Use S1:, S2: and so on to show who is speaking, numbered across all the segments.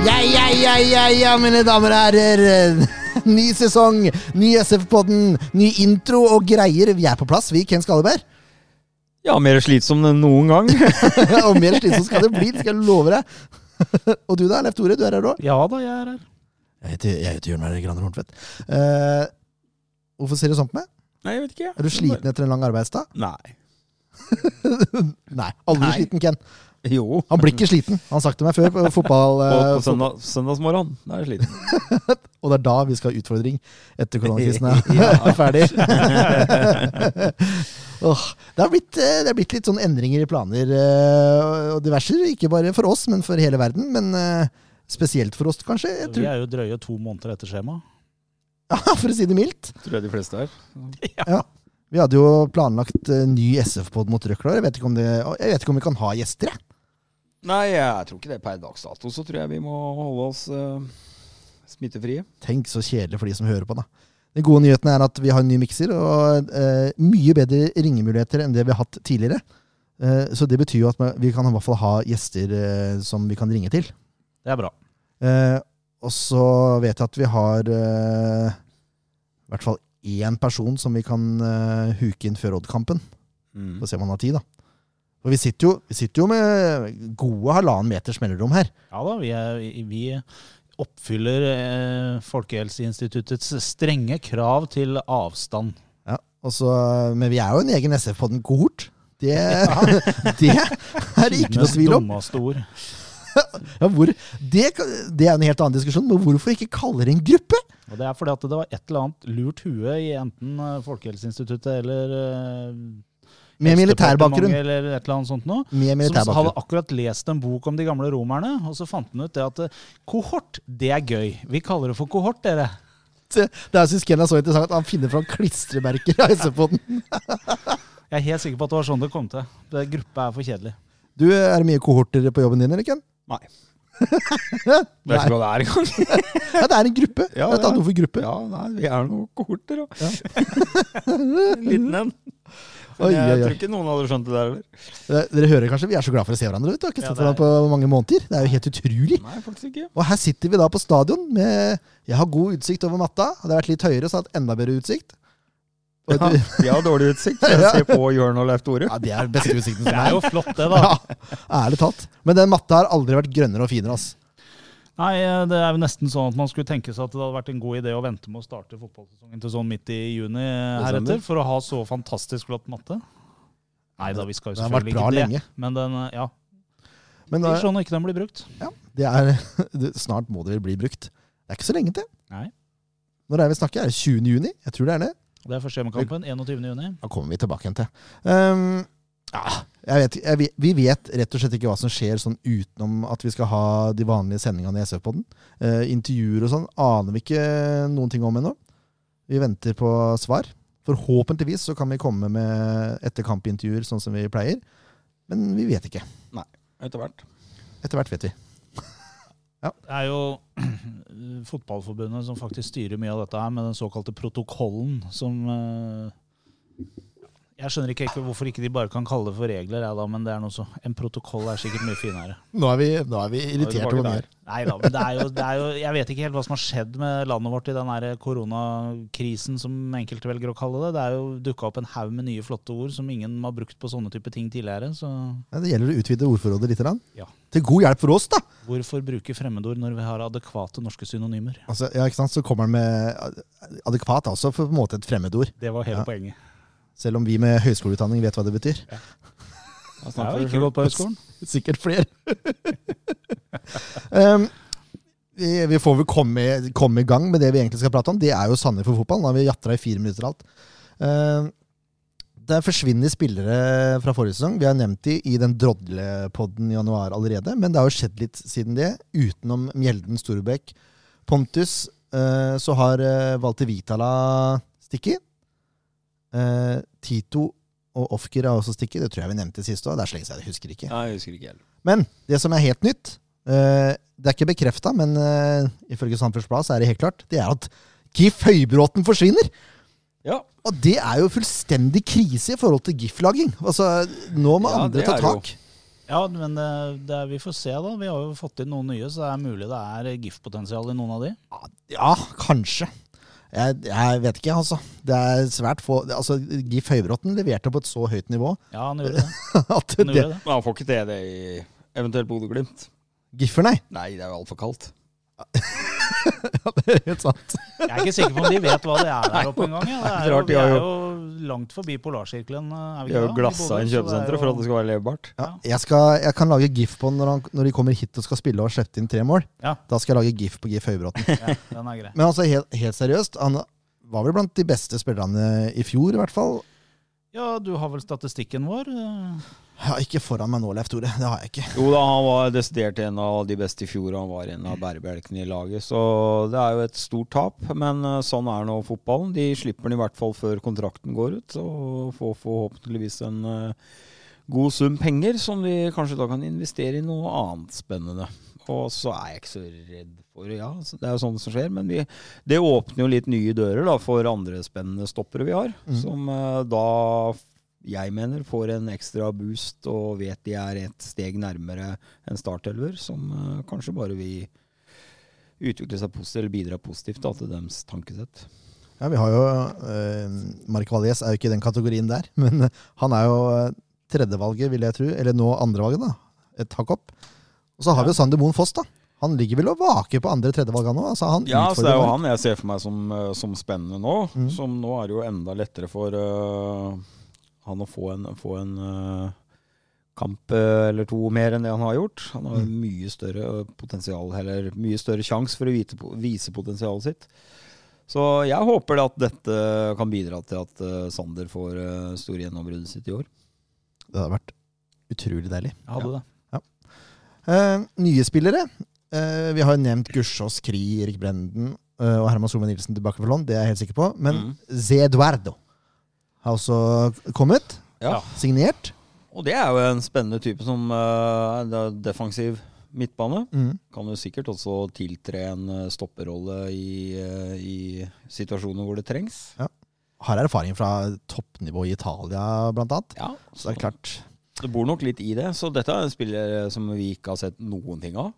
S1: ja, ja, ja, mine damer og herrer. Ny sesong, ny SF-podden, ny intro og greier. Vi er på plass, vi, Ken Skalleberg.
S2: Ja, mer slitsom enn noen gang.
S1: og mer slitsomt skal det bli, det skal jeg love deg. og du da, Leif Tore, du er her òg?
S3: Ja da, jeg er her.
S1: Jeg heter, jeg heter Jørn Werner Graner Horntvedt. Eh, hvorfor ser du sånn på meg?
S2: Nei, jeg vet ikke.
S1: Er du sliten etter en lang arbeidsdag?
S2: Nei.
S1: Nei, aldri
S2: Nei.
S1: sliten, Ken.
S2: Jo.
S1: Han blir ikke sliten. Han har sagt det meg før på fotball.
S2: Og
S1: eh,
S2: på søndag, søndagsmorgen. Da er jeg sliten.
S1: Og det er da vi skal ha utfordring etter koronakrisen er ferdig. Åh, det, har blitt, eh, det har blitt litt sånn endringer i planer eh, og diverse. Ikke bare for oss, men for hele verden. Men eh, spesielt for oss, kanskje. Jeg
S3: Vi
S1: tror,
S3: er jo drøye to måneder etter skjema.
S1: ja, for å si det mildt.
S2: Tror jeg de fleste er.
S1: Vi hadde jo planlagt eh, ny SF-pod mot Røkla. Jeg, vet ikke om det- jeg vet ikke om vi kan ha gjester, jeg.
S2: Nei, jeg tror ikke det. Per dags dato så tror jeg vi må holde oss eh, smittefrie.
S1: Tenk så kjedelig for de som hører på, da. Den gode nyheten er at vi har en ny mikser, og eh, mye bedre ringemuligheter enn det vi har hatt tidligere. Eh, så det betyr jo at vi kan i hvert fall ha gjester eh, som vi kan ringe til.
S3: Det er bra.
S1: Eh, og så vet jeg at vi har eh, i hvert fall én person som vi kan eh, huke inn før Odd-kampen.
S2: Mm.
S1: Få se om han har tid, da. Og vi sitter jo, vi sitter jo med gode halvannen meters mellomrom her.
S3: Ja da, vi, er, vi oppfyller eh, Folkehelseinstituttets strenge krav til avstand.
S1: Ja, og så, men vi er jo en egen SF på den kohort. Det, det er det ikke noe
S3: Tidenes
S1: tvil om.
S3: dummeste ord.
S1: Ja, hvor, det, kan- det er en helt annen diskusjon, men hvorfor ikke kalle det en gruppe?
S3: Og det er fordi at det var et eller annet lurt hue i enten eh, Folkehelseinstituttet eller eh,
S1: Med militærbakgrunn.
S3: Helsedepartementet Eller et eller annet sånt noe.
S1: Med
S3: Som hadde
S1: militærbakgrunn.
S3: akkurat lest en bok om de gamle romerne, og så fant han ut det at eh, kohort, det er gøy. Vi kaller det for kohort, dere.
S1: Det er synes Ken er så interessant at han finner fram klistremerker av SF-podden.
S3: Jeg er helt sikker på at det var sånn det kom til. Det gruppa er for kjedelig.
S1: Du, er det mye kohorter på jobben din, eller Ken?
S2: Nei. Vet ikke hva det er engang.
S1: Ja, det er en gruppe. det
S2: Ja,
S1: er et
S2: ja.
S1: annet ord for gruppe.
S2: Ja, nei, vi er noen kohorter, da. Liten en.
S1: Oi,
S2: Men jeg
S1: oi, oi.
S2: tror ikke noen hadde skjønt det der heller.
S1: Eh, Dere hører kanskje, vi er så glad for å se hverandre. Vet du. Vi har ikke
S3: Ja,
S1: sett
S3: det er-
S1: hverandre på mange måneder. Det er jo helt utrolig.
S2: Nei, faktisk ikke.
S1: Og her sitter vi da på stadion med Jeg har god utsikt over matta. Hadde jeg vært litt høyere, så hadde jeg hatt enda bedre utsikt. Og
S2: Ja,
S1: du,
S2: vi har dårlig utsikt. for Jeg ser på Jørn og Leif Tore.
S1: ja, det er den beste utsikten
S3: Det
S1: som
S3: er
S1: er.
S3: jo flott, det, da.
S1: Ja, ærlig talt. Men den matta har aldri vært grønnere og finere. ass.
S3: Nei, det er jo nesten sånn at man skulle tenke seg at det hadde vært en god idé å vente med å starte fotballsesongen til sånn midt i juni heretter, for å ha så fantastisk flott matte. Nei da, vi skal jo
S1: Den har vært
S3: selvfølgelig
S1: bra
S3: ikke det.
S1: lenge.
S3: Men den, eh, ja.
S1: Men
S3: Blir
S1: eh,
S3: sånn at ikke den blir brukt.
S1: det er, det- snart må det vel bli brukt. Det er ikke så lenge til.
S3: Nei.
S1: Når er det vi snakker? Er det 20. juni? Jeg tror det er det.
S3: Det er første hjemmekampen, 21. juni.
S1: Da kommer vi tilbake igjen til. Ehm, ja, jeg vet, jeg, vet- vi vet rett og slett ikke hva som skjer sånn utenom at vi skal ha de vanlige sendingene i SV-podden. Eh, intervjuer og sånn aner vi ikke noen ting om ennå. Vi venter på svar. Forhåpentligvis så kan vi komme med etterkampintervjuer sånn som vi pleier. Men vi vet ikke.
S2: Etter hvert.
S1: Etter hvert vet vi.
S3: Det er jo Fotballforbundet som faktisk styrer mye av dette her, med den såkalte protokollen som eh, Jeg skjønner ikke helt hvorfor ikke de bare kan kalle det for regler, jeg da, men det er noe så En protokoll er sikkert mye finere.
S1: Nå er vi, nå er vi irritert
S2: tilbake
S1: over
S2: der.
S1: mye.
S3: Nei da, men det er, jo, det er jo Jeg vet ikke helt hva som har skjedd med landet vårt i den her koronakrisen, som enkelte velger å kalle det. Det er jo dukka opp en haug med nye flotte ord som ingen har brukt på sånne type ting tidligere. Så
S1: Ja, Det gjelder å utvide ordforrådet litt. grann.
S3: Ja.
S1: Til god hjelp for oss, da!
S3: hvorfor bruke fremmedord når vi har adekvate norske synonymer?
S1: Altså, ja, ikke sant? Så kommer han med adekvat, altså, for på en måte et fremmedord.
S3: Det var
S1: Ja.
S3: hele poenget.
S1: Selv om vi med høyskoleutdanning vet hva det betyr.
S2: Jeg
S3: Jeg
S2: snakker
S3: har
S2: for
S3: ikke
S2: selv.
S3: gått på høyskolen.
S1: Sikkert flere. um, vi, vi får vel komme, komme i gang med det vi egentlig skal prate om. Det er jo Sandnes for fotball. Nå har vi jatra i fire minutter alt. Um, det forsvinner spillere fra forrige sesong. Vi har nevnt de i den drodlepodden i januar allerede. Men det har jo skjedd litt siden det. Utenom Mjelden Storbekk, Pontus, eh, så har eh, Walter Vitala stikket. Eh, Tito og Ofker har også stikket. Det tror jeg vi nevnte sist òg. Det er så lenge siden jeg husker ikke.
S2: Nei, jeg husker ikke heller.
S1: Men det som er helt nytt, eh, det er ikke bekrefta, men eh, ifølge Sandefjords Blad så er det helt klart, det er at GIF Høybråten forsvinner!
S2: Ja,
S1: Og det er jo fullstendig krise i forhold til GIF-laging. Altså, nå må
S2: Ja,
S1: andre
S2: det
S1: ta
S2: er
S1: tak.
S3: Ja, men det, det, er- vi får se, da. Vi har jo fått inn noen nye, så det er mulig det er GIF-potensial i noen av de.
S1: Ja, kanskje. Jeg, jeg vet ikke, altså. Det er svært få altså, Gif Høybråten leverte på et så høyt nivå
S3: Ja, han gjorde det.
S1: at
S3: Han
S1: det
S3: gjorde det.
S2: Men han får ikke til det i eventuelt Bodø-Glimt.
S1: Giffer, nei!
S2: Nei, det er jo altfor kaldt.
S1: Ja, det er helt sant.
S3: Jeg er ikke sikker på om de vet hva det er der oppe engang. Ja. Det
S2: Nei,
S3: er jo-
S2: klart,
S3: Vi
S2: de har
S3: er
S2: jo-
S3: jo langt forbi polarsirkelen. eh, Er
S2: Vi
S3: vi ikke
S2: har
S3: da,
S2: jo
S3: i
S2: glassa
S3: Bodø,
S2: inn
S3: så det er
S2: kjøpesenteret
S3: jo-
S2: for at det skal være levebart.
S1: Ja, jeg, skal, jeg kan lage gif på når, han, når de kommer hit og skal spille og slippe inn tre mål.
S3: Ja.
S1: Da skal jeg lage gif på Gif Høybråten.
S3: Ja, den er grei.
S1: Men altså, helt, helt seriøst, han var vel blant de beste spillerne i fjor, i hvert fall.
S3: Ja, du har vel statistikken vår? eh,
S1: Ja, ikke foran meg nå, Leif Tore. Det har jeg ikke.
S2: Jo da, han var desidert en av de beste i fjor, og han var en av bærebjelkene i laget. Så det er jo et stort tap, men eh, sånn er nå fotballen. De slipper den i hvert fall før kontrakten går ut, og får forhåpentligvis en eh, god sum penger som de kanskje da kan investere i noe annet spennende. Og så er jeg ikke så redd for Ja, så det er jo sånn som skjer, men vi, det åpner jo litt nye dører da, for andre spennende stoppere vi har,
S1: Mhm.
S2: som eh, da jeg mener får en ekstra boost og vet de er et steg nærmere en startelver, som eh, kanskje bare vil utvikle seg positivt, eller bidra positivt da, til deres tankesett.
S1: Ja, vi har jo eh, Mark Valles er jo ikke i den kategorien der, men han er jo eh, tredjevalget, vil jeg tro. Eller nå andrevalget, da. Et hakk opp. Og så har vi jo Sander Moen Foss, da. Han ligger vel og vaker på andre tredjevalget nå. Altså, han
S2: Ja, så det er jo
S1: Mark.
S2: han jeg ser for meg som, eh, som spennende nå.
S1: Mhm.
S2: Som nå er det jo enda lettere for eh, han å få en, få en eh, kamp eh, eller to mer enn det han har gjort. Han har jo mye større eh, potensial, eller mye større sjanse for å vite, po- vise potensialet sitt. Så jeg håper at dette kan bidra til at eh, Sander får eh, store gjennombruddet sitt i år.
S1: Det hadde vært utrolig deilig.
S3: Jeg hadde det.
S1: Eh, nye spillere. Eh, vi har jo nevnt Gussiås, Kri, Erik Brenden eh, og Herman Solveig Nilsen tilbake for lån. Det er jeg helt sikker på. Men
S2: Mhm.
S1: Zeduardo har også kommet.
S2: Ja.
S1: Signert.
S2: Og det er jo en spennende type som eh, det er defensiv midtbane.
S1: Mhm.
S2: Kan jo sikkert også tiltre en eh, stopperrolle i, eh, i situasjoner hvor det trengs.
S1: Har erfaring fra toppnivå i Italia, blant annet.
S2: Ja,
S1: Så det er klart
S2: Det bor nok litt i det. Så dette er en spiller som vi ikke har sett noen ting av.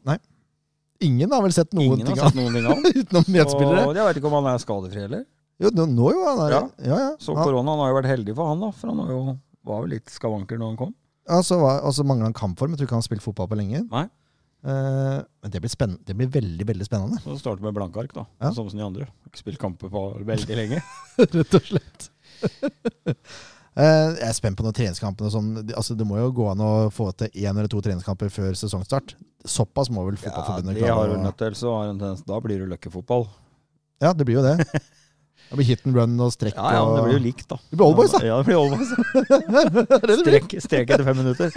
S1: Ingen har vel sett noen
S2: Ingen
S1: ting av
S2: har sett noen ting av.
S1: utenom medspillere.
S2: Og jeg veit ikke om han er skadefri heller.
S1: Jo, nå, nå jo, han er,
S2: Ja.
S1: ja, ja.
S2: Så
S1: Han,
S2: koronaen har jo vært heldig for han, da. For han har jo, var jo litt skavanker når han kom.
S1: altså, var, altså mangler han kampform. Jeg tror ikke han har spilt fotball på lenge.
S2: Nei.
S1: Eh, men det blir, spennende. det blir veldig, veldig spennende.
S2: Så starter med blanke ark, da.
S1: Ja.
S2: Som de andre. Ikke spilt kamper på veldig lenge.
S1: Rett og slett. Eh, jeg er spent på noen treningskamper. og Sånn. De- Altså, det må jo gå an å få til én eller to treningskamper før sesongstart. Såpass må vel Fotballforbundet
S2: de har
S1: klare.
S2: jo
S1: å-
S2: nødt til, så har en tendens Da blir det løkkefotball.
S1: Ja, det blir jo det. Det blir hit and run og strekk.
S2: Ja, ja, men det
S1: og-
S2: blir jo likt, da.
S1: Det blir oldboys, da.
S2: Ja, det blir oldboys. Strek, strek etter fem minutter.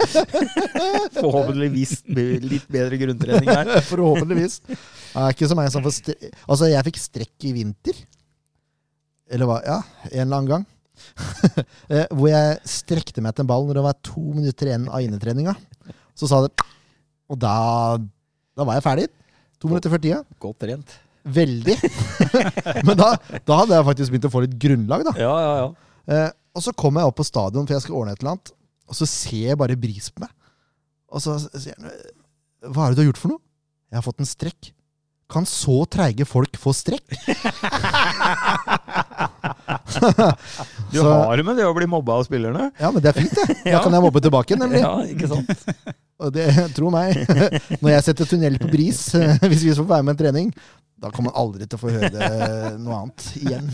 S2: Forhåpentligvis blir det litt bedre grunntrening her.
S1: Forhåpentligvis. Det er ikke så mange som får stre- Altså, jeg fikk strekk i vinter. Eller hva? Ja, en eller annen gang. Eh, Hvor jeg strekte meg etter en ball når det var to minutter igjen av innetreninga. Så sa det Og da, da var jeg ferdig. To minutter før tida.
S2: Godt trent.
S1: Veldig. Men da, da hadde jeg faktisk begynt å få litt grunnlag, da.
S2: Ja, ja, ja.
S1: Eh, og så kommer jeg opp på stadion, for jeg skal ordne et eller annet. Og så ser jeg bare Bris på meg. Og så sier han Hva er det du har gjort for noe? Jeg har fått en strekk. Kan så treige folk få strekk?
S2: Du
S1: Så-
S2: har med det å bli mobba av spillerne.
S1: Ja, men det er fint, det. Da
S2: Ja.
S1: kan jeg mobbe tilbake, nemlig.
S2: Ja, ikke sant?
S1: Og det, tro meg, når jeg setter tunnel på Bris, hvis vi får være med en trening, da kommer han aldri til å få høre eh, noe annet igjen.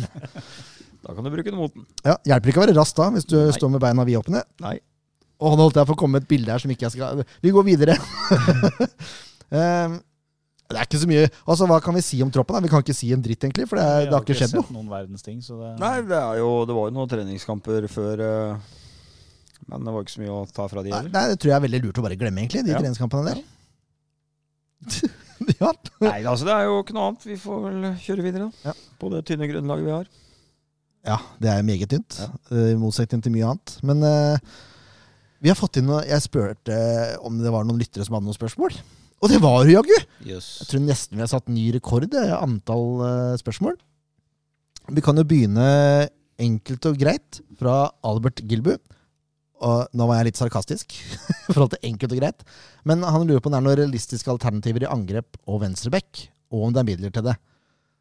S2: Da kan du bruke den mot den.
S1: Ja, Hjelper ikke å være rask da, hvis du
S2: Nei.
S1: står med beina vidåpne.
S2: Nei.
S1: Å, nå holdt jeg på å komme med et bilde her som ikke jeg skal Vi går videre. Ehm, det er ikke så mye Altså, Hva kan vi si om troppen? da? Vi kan ikke si en dritt, egentlig, for det, er,
S3: Vi
S1: det
S3: har
S1: har ikke skjedd
S3: sett
S1: noe.
S3: noen verdens ting, så det
S2: Nei, det, er jo, det var jo noen treningskamper før, eh, men det var ikke så mye å ta fra de
S1: Nei,
S2: heller.
S1: nei, Det tror jeg er veldig lurt å bare glemme, egentlig, de
S2: Ja.
S1: treningskampene der. ja.
S2: Nei, altså det er jo ikke noe annet. Vi får vel kjøre videre, da.
S1: Ja.
S2: På det tynne grunnlaget vi har.
S1: ja, det er meget tynt.
S2: Ja.
S1: eh, I motsetning til mye annet. Men eh, vi har fått inn noe Jeg spurte eh, om det var noen lyttere som hadde noen spørsmål. Og det var det jaggu!
S2: Jøss.
S1: Jeg tror nesten vi har satt ny rekord i antall eh, spørsmål. Vi kan jo begynne enkelt og greit fra Albert Gilbu. og nå var jeg litt sarkastisk, i forhold til enkelt og greit, men han lurer på om det er noen realistiske alternativer i angrep og venstreback, og om det er midler til det.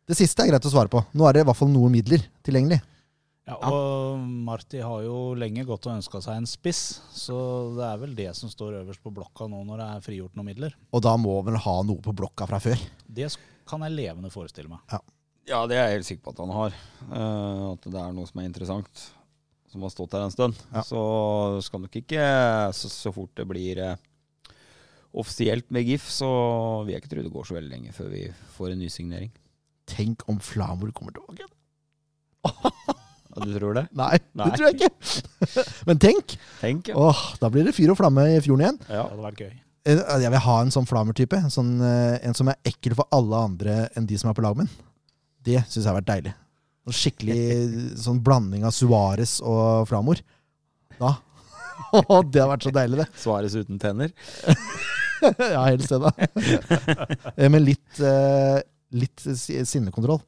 S1: Det siste er greit å svare på. Nå er det i hvert fall noen midler tilgjengelig.
S3: Ja, og Marti har jo lenge gått og ønska seg en spiss, så det er vel det som står øverst på blokka nå når det er frigjort noen midler.
S1: Og da må vel ha noe på blokka fra før.
S3: Det sk- kan jeg levende forestille meg.
S2: Ja, det er jeg helt sikker på at han har. Eh, at det er noe som er interessant, som har stått her en stund.
S1: Ja.
S2: Så skal nok ikke så, så fort det blir eh, offisielt med GIF, så vil jeg ikke tro det går så veldig lenge før vi får en ny signering.
S1: Tenk om Flamor kommer tilbake.
S2: Ja, du tror det?
S1: Nei,
S2: Nei.
S1: det tror jeg ikke. Men tenk!
S2: Tenk, ja.
S1: Åh, da blir det fyr og flamme i fjorden igjen.
S2: ja.
S3: Det hadde vært gøy.
S1: Eh, Jeg vil ha en sånn Flamor-type. En, sånn, eh, en som er ekkel for alle andre enn de som er på laget min. Det syns jeg har vært deilig. Noen skikkelig sånn blanding av Suárez og Flamor. Da. Åh, det har vært så deilig, det.
S2: Svares uten tenner.
S1: Ja, helst det, da. Eh, Men litt, eh, litt si- sinnekontroll.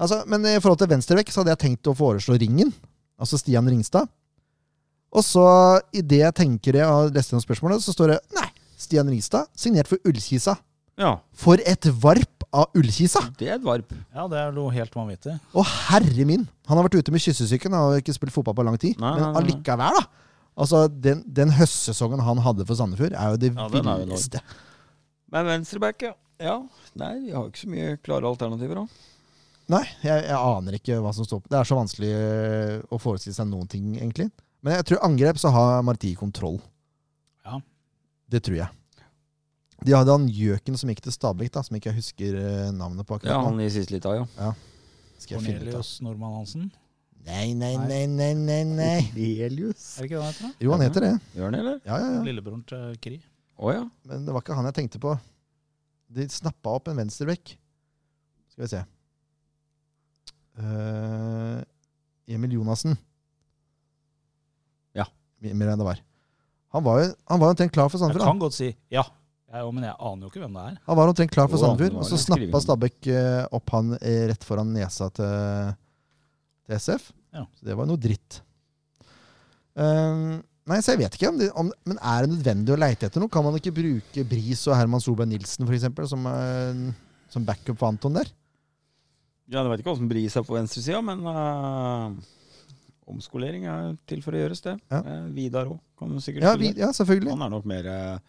S1: Altså, men i forhold til venstrevekk så hadde jeg tenkt å foreslå Ringen. Altså Stian Ringstad. Og så, idet jeg tenker det og leste noen spørsmål, så står det Nei, Stian Ringstad signert for Ullkisa.
S2: Ja,
S1: For et varp av Ullkisa!
S2: det er et varp.
S3: Ja, det er noe helt vanvittig.
S1: Å, herre min! Han har vært ute med kyssesyken og ikke spilt fotball på lang tid.
S2: Nei,
S1: men
S2: nei, nei.
S1: allikevel, da! Altså, den, den høstsesongen han hadde for Sandefjord, er jo det
S2: Ja, den er jo enorm.
S1: villeste.
S2: Men venstreback, ja. ja. Nei, vi har ikke så mye klare alternativer, da.
S1: Nei, jeg, jeg aner ikke hva som står på. Det er så vanskelig øh, å forestille seg noen ting, egentlig. Men jeg tror angrep så har Marti kontroll.
S3: Ja.
S1: Det tror jeg. De hadde han gjøken som gikk til Stabæk, da, som ikke jeg husker øh, navnet på
S2: Ja,
S1: akkurat
S2: han i siste lita, ja.
S1: nå. Skal jeg finne ut av.
S3: Cornelius Normann Hansen,
S1: Nei, nei, nei, nei, nei, nei.
S2: Delius.
S3: er det ikke det han heter? da?
S1: Jo, han heter det.
S2: Gjør han det, eller?
S1: Ja, ja, ja.
S3: Lillebroren til Kri.
S2: Å ja.
S1: Men det var ikke han jeg tenkte på. De snappa opp en venstrebekk. Skal vi se. Eh, Emil Jonassen.
S2: Ja.
S1: Mer enn det var. Han var jo, han var jo omtrent klar Sånn for
S3: Jeg
S1: Sandefjord.
S3: kan godt si ja, jeg, jo, men jeg aner jo ikke hvem det er.
S1: da. Han var omtrent klar for
S2: Jo, han
S1: Sandefjord,
S2: var
S1: og så
S2: det.
S1: snappa Stabæk eh, opp han eh, rett foran nesa til, til SF.
S3: Ja.
S1: Så det var noe dritt. Eh, nei, så jeg vet ikke om det om, Men er det nødvendig å leite etter noe? Kan man ikke bruke Bris og Herman Solberg Nilsen for eksempel, som, eh, som backup for Anton der?
S2: Ja, Jeg vet ikke hva som bryr seg på venstresida, men eh, omskolering er til for å gjøres, det.
S1: Ja.
S2: Eh, Vidar òg kan jo sikkert
S1: Ja, vi,
S2: spille.
S1: ja selvfølgelig.
S2: Han er nok mer uh,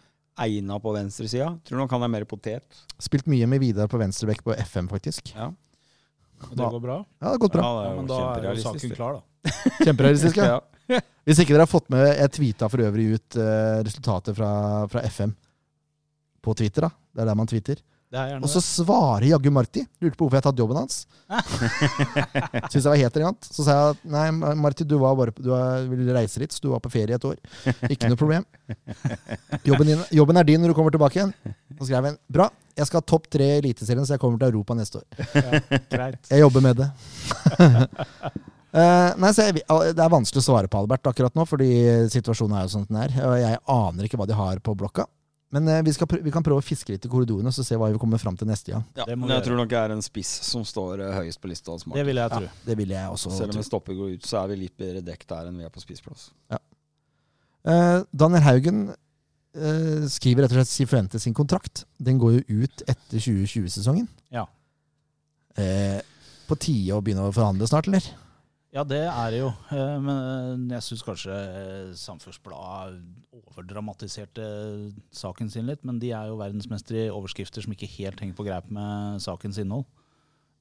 S2: egna på venstresida. Tror nok han er mer potet.
S1: Spilt mye med Vidar på venstrebekk på FM, faktisk.
S2: Ja,
S3: Og det går bra.
S1: Ja, det har gått bra.
S2: Ja, det
S3: Ja,
S2: er jo
S3: men da er jo
S2: kjemperealistisk.
S3: saken klar, da.
S1: Kjemperealistisk. Ja.
S2: Ja.
S1: Hvis ikke dere har fått med Jeg tweeta for øvrig ut eh, resultatet fra, fra FM på Twitter. da. Det er der man tweeter.
S3: Det er
S1: Og
S3: gjerne
S1: så
S3: det.
S1: svarer jaggu Marti. Lurte på hvorfor jeg har tatt jobben hans. Syns jeg var helt elegant. Så sa jeg at nei, Marti, du, var bare på, du var, ville reise litt, så du var på ferie et år. Ikke noe problem. Jobben, din, jobben er din når du kommer tilbake igjen. Så skrev han bra, jeg skal ha topp tre i Eliteserien, så jeg kommer til Europa neste år.
S3: Ja, greit.
S1: Jeg jobber med det. Eh, nei, så jeg, Det er vanskelig å svare på Albert akkurat nå, fordi situasjonen er jo sånn den er. Og jeg aner ikke hva de har på blokka. Men eh, vi, skal prø vi kan prøve å fiske litt i korridorene så se hva vi kommer fram til neste gang.
S2: Ja,
S3: Det må
S2: men
S3: vi
S2: jeg
S3: gjøre.
S2: tror nok det er en spiss som står eh, høyest på lista. hos Martin.
S3: Det vil jeg tro.
S1: Det vil jeg også
S2: Selv om
S1: tro.
S2: en stopper går ut, så er vi litt bedre dekk der enn vi er på spissplass.
S1: Eh, Daniel Haugen eh, skriver rett og slett Sifuentes sin kontrakt. Den går jo ut etter 2020-sesongen.
S3: Ja.
S1: Eh, på tide å begynne å forhandle snart, eller?
S3: Ja, det er det jo. Eh, Men jeg syns kanskje eh, Samfunnsbladet overdramatiserte saken sin litt. Men de er jo verdensmestere i overskrifter som ikke helt henger på greip med sakens innhold.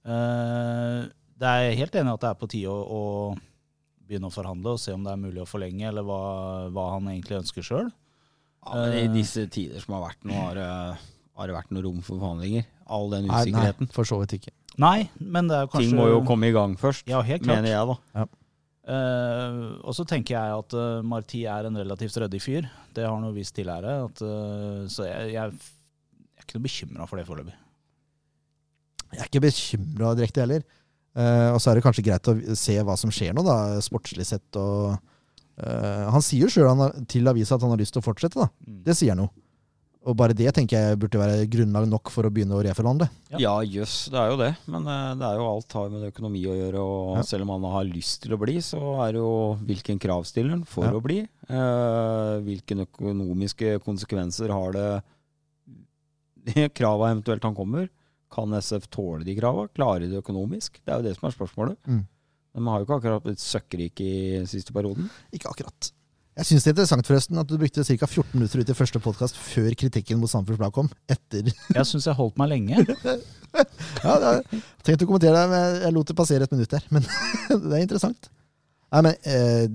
S3: Eh, Det er helt enig at det er på tide å, å begynne å forhandle og se om det er mulig å forlenge, eller hva, hva han egentlig ønsker sjøl.
S2: Ja, men I disse tider som har vært nå, har, det- har det vært noe rom for forhandlinger. All den
S1: Nei, nei,
S2: usikkerheten.
S1: for så vidt ikke.
S3: Nei, men det er jo kanskje
S2: Ting må jo komme i gang først,
S3: Ja, helt klart.
S2: mener jeg da.
S3: Eh, og så tenker jeg at eh, Marti er en relativt ryddig fyr. Det har han jo vist tidligere. At, eh, så jeg, jeg, f- jeg er ikke noe bekymra for det foreløpig.
S1: Jeg er ikke bekymra direkte heller. Eh, og så er det kanskje greit å se hva som skjer nå, da, sportslig sett. Og, eh, han sier jo sjøl til avisa at han har lyst til å fortsette. da.
S3: Mm.
S1: Det sier han jo. Og bare det tenker jeg burde være grunnlag nok for å begynne å reforhandle.
S3: Ja.
S2: Ja, jøss, det er jo det. Men eh, det er jo alt har med økonomi å gjøre. Og
S1: Ja.
S2: selv om han har lyst til å bli, så er det jo hvilken krav stiller han for
S1: Ja.
S2: å bli. Eh, hvilke økonomiske konsekvenser har det de krava eventuelt han kommer? Kan SF tåle de krava? Klarer de det økonomisk? Det er jo det som er spørsmålet.
S1: Mm.
S2: De har jo ikke akkurat blitt søkkrike i siste perioden.
S1: Ikke akkurat. Jeg syns det er interessant forresten at du brukte ca. 14 minutter ut i første podkast før kritikken mot Samfunns Blad kom. Etter.
S3: Jeg syns jeg holdt meg lenge.
S1: Ja, det er, tenkte å kommentere det, men jeg lot det passere et minutt der. Men det er interessant. Nei, men eh,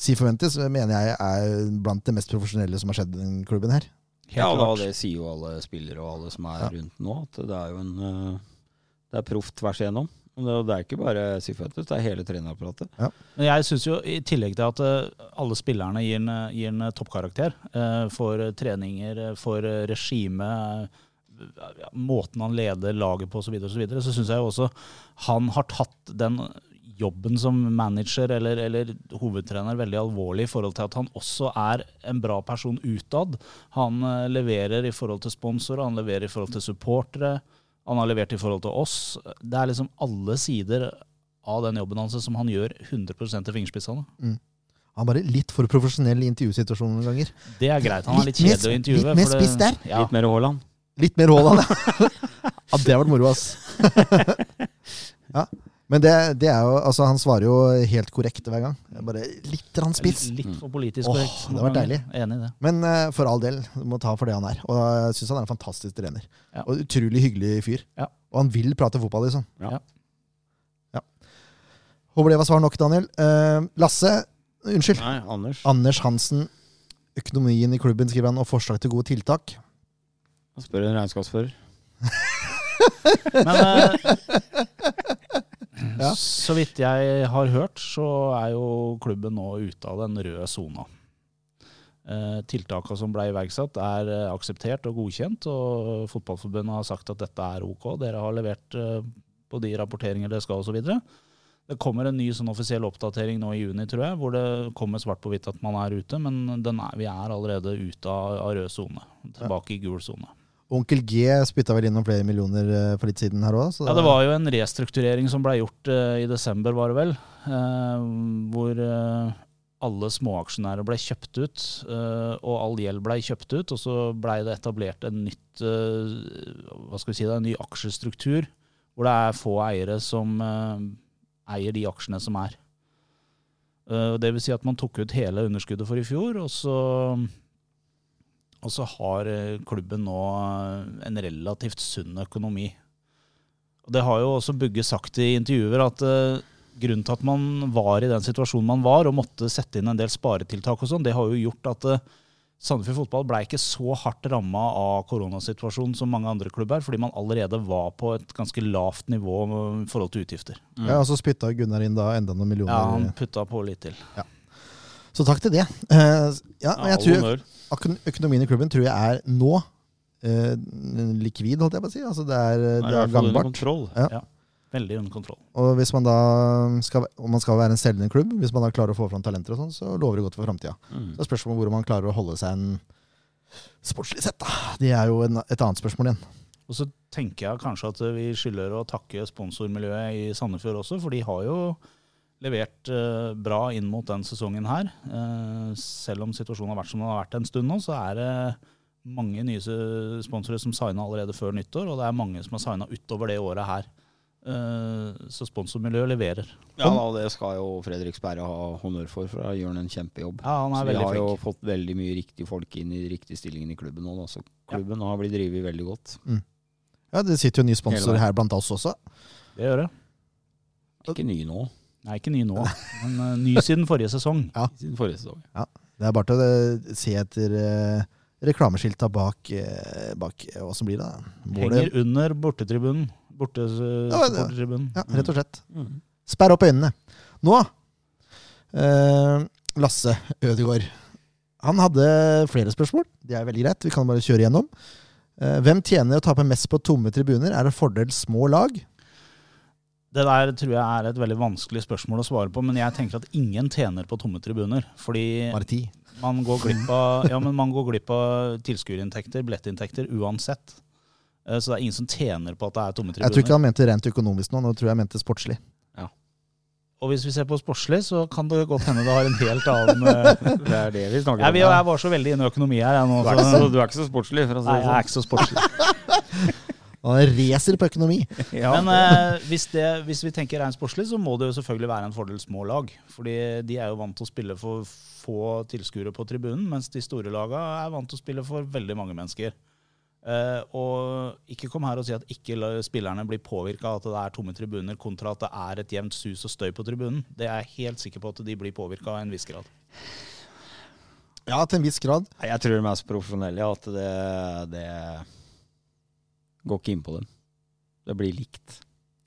S1: Si Forventes mener jeg er blant det mest profesjonelle som har skjedd i den klubben her.
S3: Helt
S2: Ja, og da,
S3: klart.
S2: det sier jo alle spillere og alle som er
S1: Ja.
S2: rundt nå, at det er jo en eh, Det er proft tvers igjennom. Og det, det er ikke bare Siføtes, det er hele trenerapparatet.
S3: Men jeg synes jo, I tillegg til at eh, alle spillerne gir en, gir en toppkarakter eh, for eh, treninger, eh, for eh, regime, eh, ja, måten han leder laget på osv., så, videre, og så, videre, så syns jeg jo også han har tatt den jobben som manager eller, eller hovedtrener veldig alvorlig i forhold til at han også er en bra person utad. Han eh, leverer i forhold til sponsorer, han leverer i forhold til supportere, han har levert i forhold til oss. Det er liksom alle sider av den jobben hans som han gjør 100 til fingerspissene.
S1: Han er bare litt for profesjonell i intervjusituasjonen noen ganger.
S3: Det er greit. Han er litt
S1: Litt mer-
S3: kjedelig å intervjue.
S1: litt mer
S3: for det-
S1: spiss der.
S3: Ja.
S2: Litt mer Haaland.
S1: Litt mer Haaland. ja. ja, det har vært moro, ass. ja. Men det, det er jo Altså, han svarer jo helt korrekt hver gang. Bare litt grann spiss.
S3: Litt for politisk
S1: Åh,
S3: korrekt.
S1: det var deilig.
S3: Enig i det.
S1: Men eh, for all del, du må ta for det han er. Og jeg syns han er en fantastisk trener.
S3: Ja.
S1: Og utrolig hyggelig fyr.
S3: Ja.
S1: Og han vil prate fotball, liksom.
S2: Ja.
S3: Ja.
S1: Ja. Håper det var svar nok, Daniel. Eh, Lasse, unnskyld.
S2: Nei, Anders.
S1: Anders Hansen. Økonomien i klubben, skriver han, og forslag til gode tiltak.
S2: Han spør en regnskapsfører.
S3: Men eh,
S1: Ja.
S3: så vidt jeg har hørt, så er jo klubben nå ute av den røde sona. Eh, Tiltakene som ble iverksatt, er eh, akseptert og godkjent. Og Fotballforbundet har sagt at dette er OK. Dere har levert eh, på de rapporteringer dere skal osv. Det kommer en ny sånn offisiell oppdatering nå i juni, tror jeg, hvor det kommer svart på hvitt at man er ute. Men den er, vi er allerede ute av, av rød sone. Tilbake i gul sone.
S1: Onkel G spytta vel innom flere millioner eh, for litt siden her òg.
S3: Ja, det var jo en restrukturering som ble gjort eh, i desember, var det vel. eh, hvor eh, alle småaksjonærer ble kjøpt ut, eh, og all gjeld ble kjøpt ut. Og så ble det etablert en, nytt, eh, hva skal vi si, det, en ny aksjestruktur, hvor det er få eiere som eh, eier de aksjene som er. Eh, og det vil si at man tok ut hele underskuddet for i fjor, og så, og så har eh, klubben nå eh, en relativt sunn økonomi. Og Det har jo også Bugge sagt i intervjuer, at eh, grunnen til at man var i den situasjonen man var, og måtte sette inn en del sparetiltak og sånn, det har jo gjort at eh, Sandefjord fotball ble ikke så hardt ramma av koronasituasjonen som mange andre klubber, fordi man allerede var på et ganske lavt nivå i forhold til utgifter.
S1: Ja, og så spytta Gunnar inn da enda noen millioner.
S3: Ja, han putta på litt til.
S1: Så takk til det. Eh, ja, men jeg tror
S2: honnør.
S1: akon- Økonomien i klubben tror jeg er nå eh, likvid, holdt jeg på å si. Altså det er,
S2: Det
S1: det
S2: i
S1: er
S2: hvert fall under
S1: gangbart.
S2: kontroll.
S3: Veldig under kontroll.
S1: Og hvis man da skal, om man skal være en selgende klubb, hvis man da klarer å få fram talenter og sånn, så lover det godt for framtida.
S2: Mm.
S1: Så er spørsmålet hvordan man klarer å holde seg en sportslig sett, da. Det er jo en, et annet spørsmål igjen.
S3: Og så tenker jeg kanskje at vi skylder å takke sponsormiljøet i Sandefjord også, for de har jo levert eh, bra inn mot den sesongen her. Eh, selv om situasjonen har vært som den har vært en stund nå, så er det mange nye se- sponsorer som signa allerede før nyttår, og det er mange som har signa utover det året her. Eh, så sponsormiljøet leverer.
S2: Ja, da, det skal jo Fredrik Sperre ha honnør for, for da gjør han en kjempejobb.
S3: Ja, han
S2: Så
S3: er
S2: vi
S3: veldig
S2: har jo
S3: flink.
S2: fått veldig mye riktige folk inn i de riktige stillingene i klubben nå. Da. Så klubben har blitt drevet veldig godt.
S1: Ja, Det sitter jo en ny
S2: Hele
S1: sponsor
S2: veien.
S1: her blant oss også.
S3: Det gjør det.
S2: Ikke ny nå,
S3: Nei, ikke ny nå, men eh, ny siden forrige sesong.
S2: siden forrige sesong.
S1: Det er bare til å eh, se etter eh, reklameskilta bak, eh, bak eh, hva som blir det. da. Målet-
S3: Henger under bortetribunen. Borte,
S1: Ja, det-
S3: bortetribunen.
S1: Ja, rett og slett.
S2: Mm.
S1: Sperr opp øynene. Nå, eh, Lasse Ødegaard. Han hadde flere spørsmål. Det er veldig greit. Vi kan bare kjøre gjennom. Eh, hvem tjener og taper mest på tomme tribuner? Er det fordel små lag?
S3: Det der tror jeg er et veldig vanskelig spørsmål å svare på, men jeg tenker at ingen tjener på tomme tribuner. Fordi
S1: Bare ti.
S3: Man går glipp av, ja, men man går glipp av tilskuerinntekter, billettinntekter, uansett. Eh, Så det er ingen som tjener på at det er tomme
S1: Jeg tror ikke
S3: tribuner.
S1: han mente rent økonomisk nå, nå tror jeg han mente sportslig.
S3: Og hvis vi ser på sportslig, så kan det godt hende det har en helt annen eh,
S2: Det er det vi snakker
S3: Jeg,
S2: om.
S3: vil-
S2: her.
S3: jeg var så veldig inne i økonomi her, jeg nå.
S2: Du er ikke så,
S3: Så,
S2: du er ikke så sportslig, for å si
S3: nei,
S2: det
S3: jeg er
S2: sånn.
S3: ikke så sportslig.
S1: Han racer på økonomi.
S2: Ja.
S3: Men eh, hvis, det, hvis vi tenker rent sportslig, så må det jo selvfølgelig være en fordel små lag. Fordi de er jo vant til å spille for få tilskuere på tribunen, mens de store laga er vant til å spille for veldig mange mennesker. Eh, og ikke kom her og si at ikke la- spillerne blir påvirka av at det er tomme tribuner, kontra at det er et jevnt sus og støy på tribunen. Det er jeg helt sikker på at de blir påvirka av en viss grad.
S1: Ja, til en viss grad.
S2: Nei, jeg tror de er så profesjonelle ja, at det, det går ikke inn på dem. Det blir likt.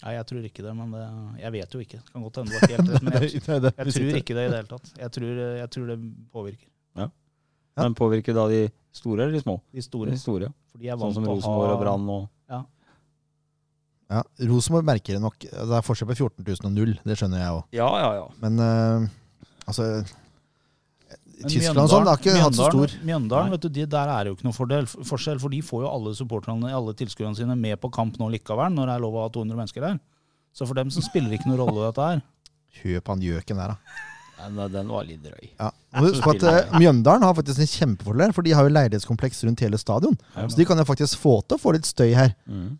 S3: Nei, jeg tror ikke det, men det, jeg vet jo ikke. Det kan godt hende det var helt rett, men jeg, jeg tror ikke det i det hele tatt. Jeg tror, jeg tror det påvirker
S1: Ja.
S2: Men påvirker da de store eller de små?
S3: de store.
S2: De store, ja.
S3: For de er
S2: Sånn
S3: vant
S2: som
S3: til å ha
S2: Rosenborg og Brann og
S1: Ja, Rosenborg merker det nok. Det er forskjell på 14 000 og null, det skjønner jeg òg.
S2: Ja, ja, ja.
S1: Men eh, altså
S3: Men
S1: Tyskland og sånn det har ikke hatt så
S3: Mjøndalen-
S1: stor
S3: Mjøndalen, vet du, de, der er det jo ikke noe fordel, forskjell, for de får jo alle supporterne, alle tilskuerne sine med på kamp nå likevel, når det er lov å ha 200 mennesker der. Så for dem så spiller det ikke noe rolle dette her.
S1: Kjøp han gjøken der, da.
S2: Den, den var litt drøy.
S1: Ja.
S2: Jeg
S1: Og husk på
S2: synes
S1: at eh, Mjøndalen har faktisk en kjempefordel, for de har jo leilighetskompleks rundt hele stadion. Så de kan jo faktisk få til å få litt støy her.
S2: Mm.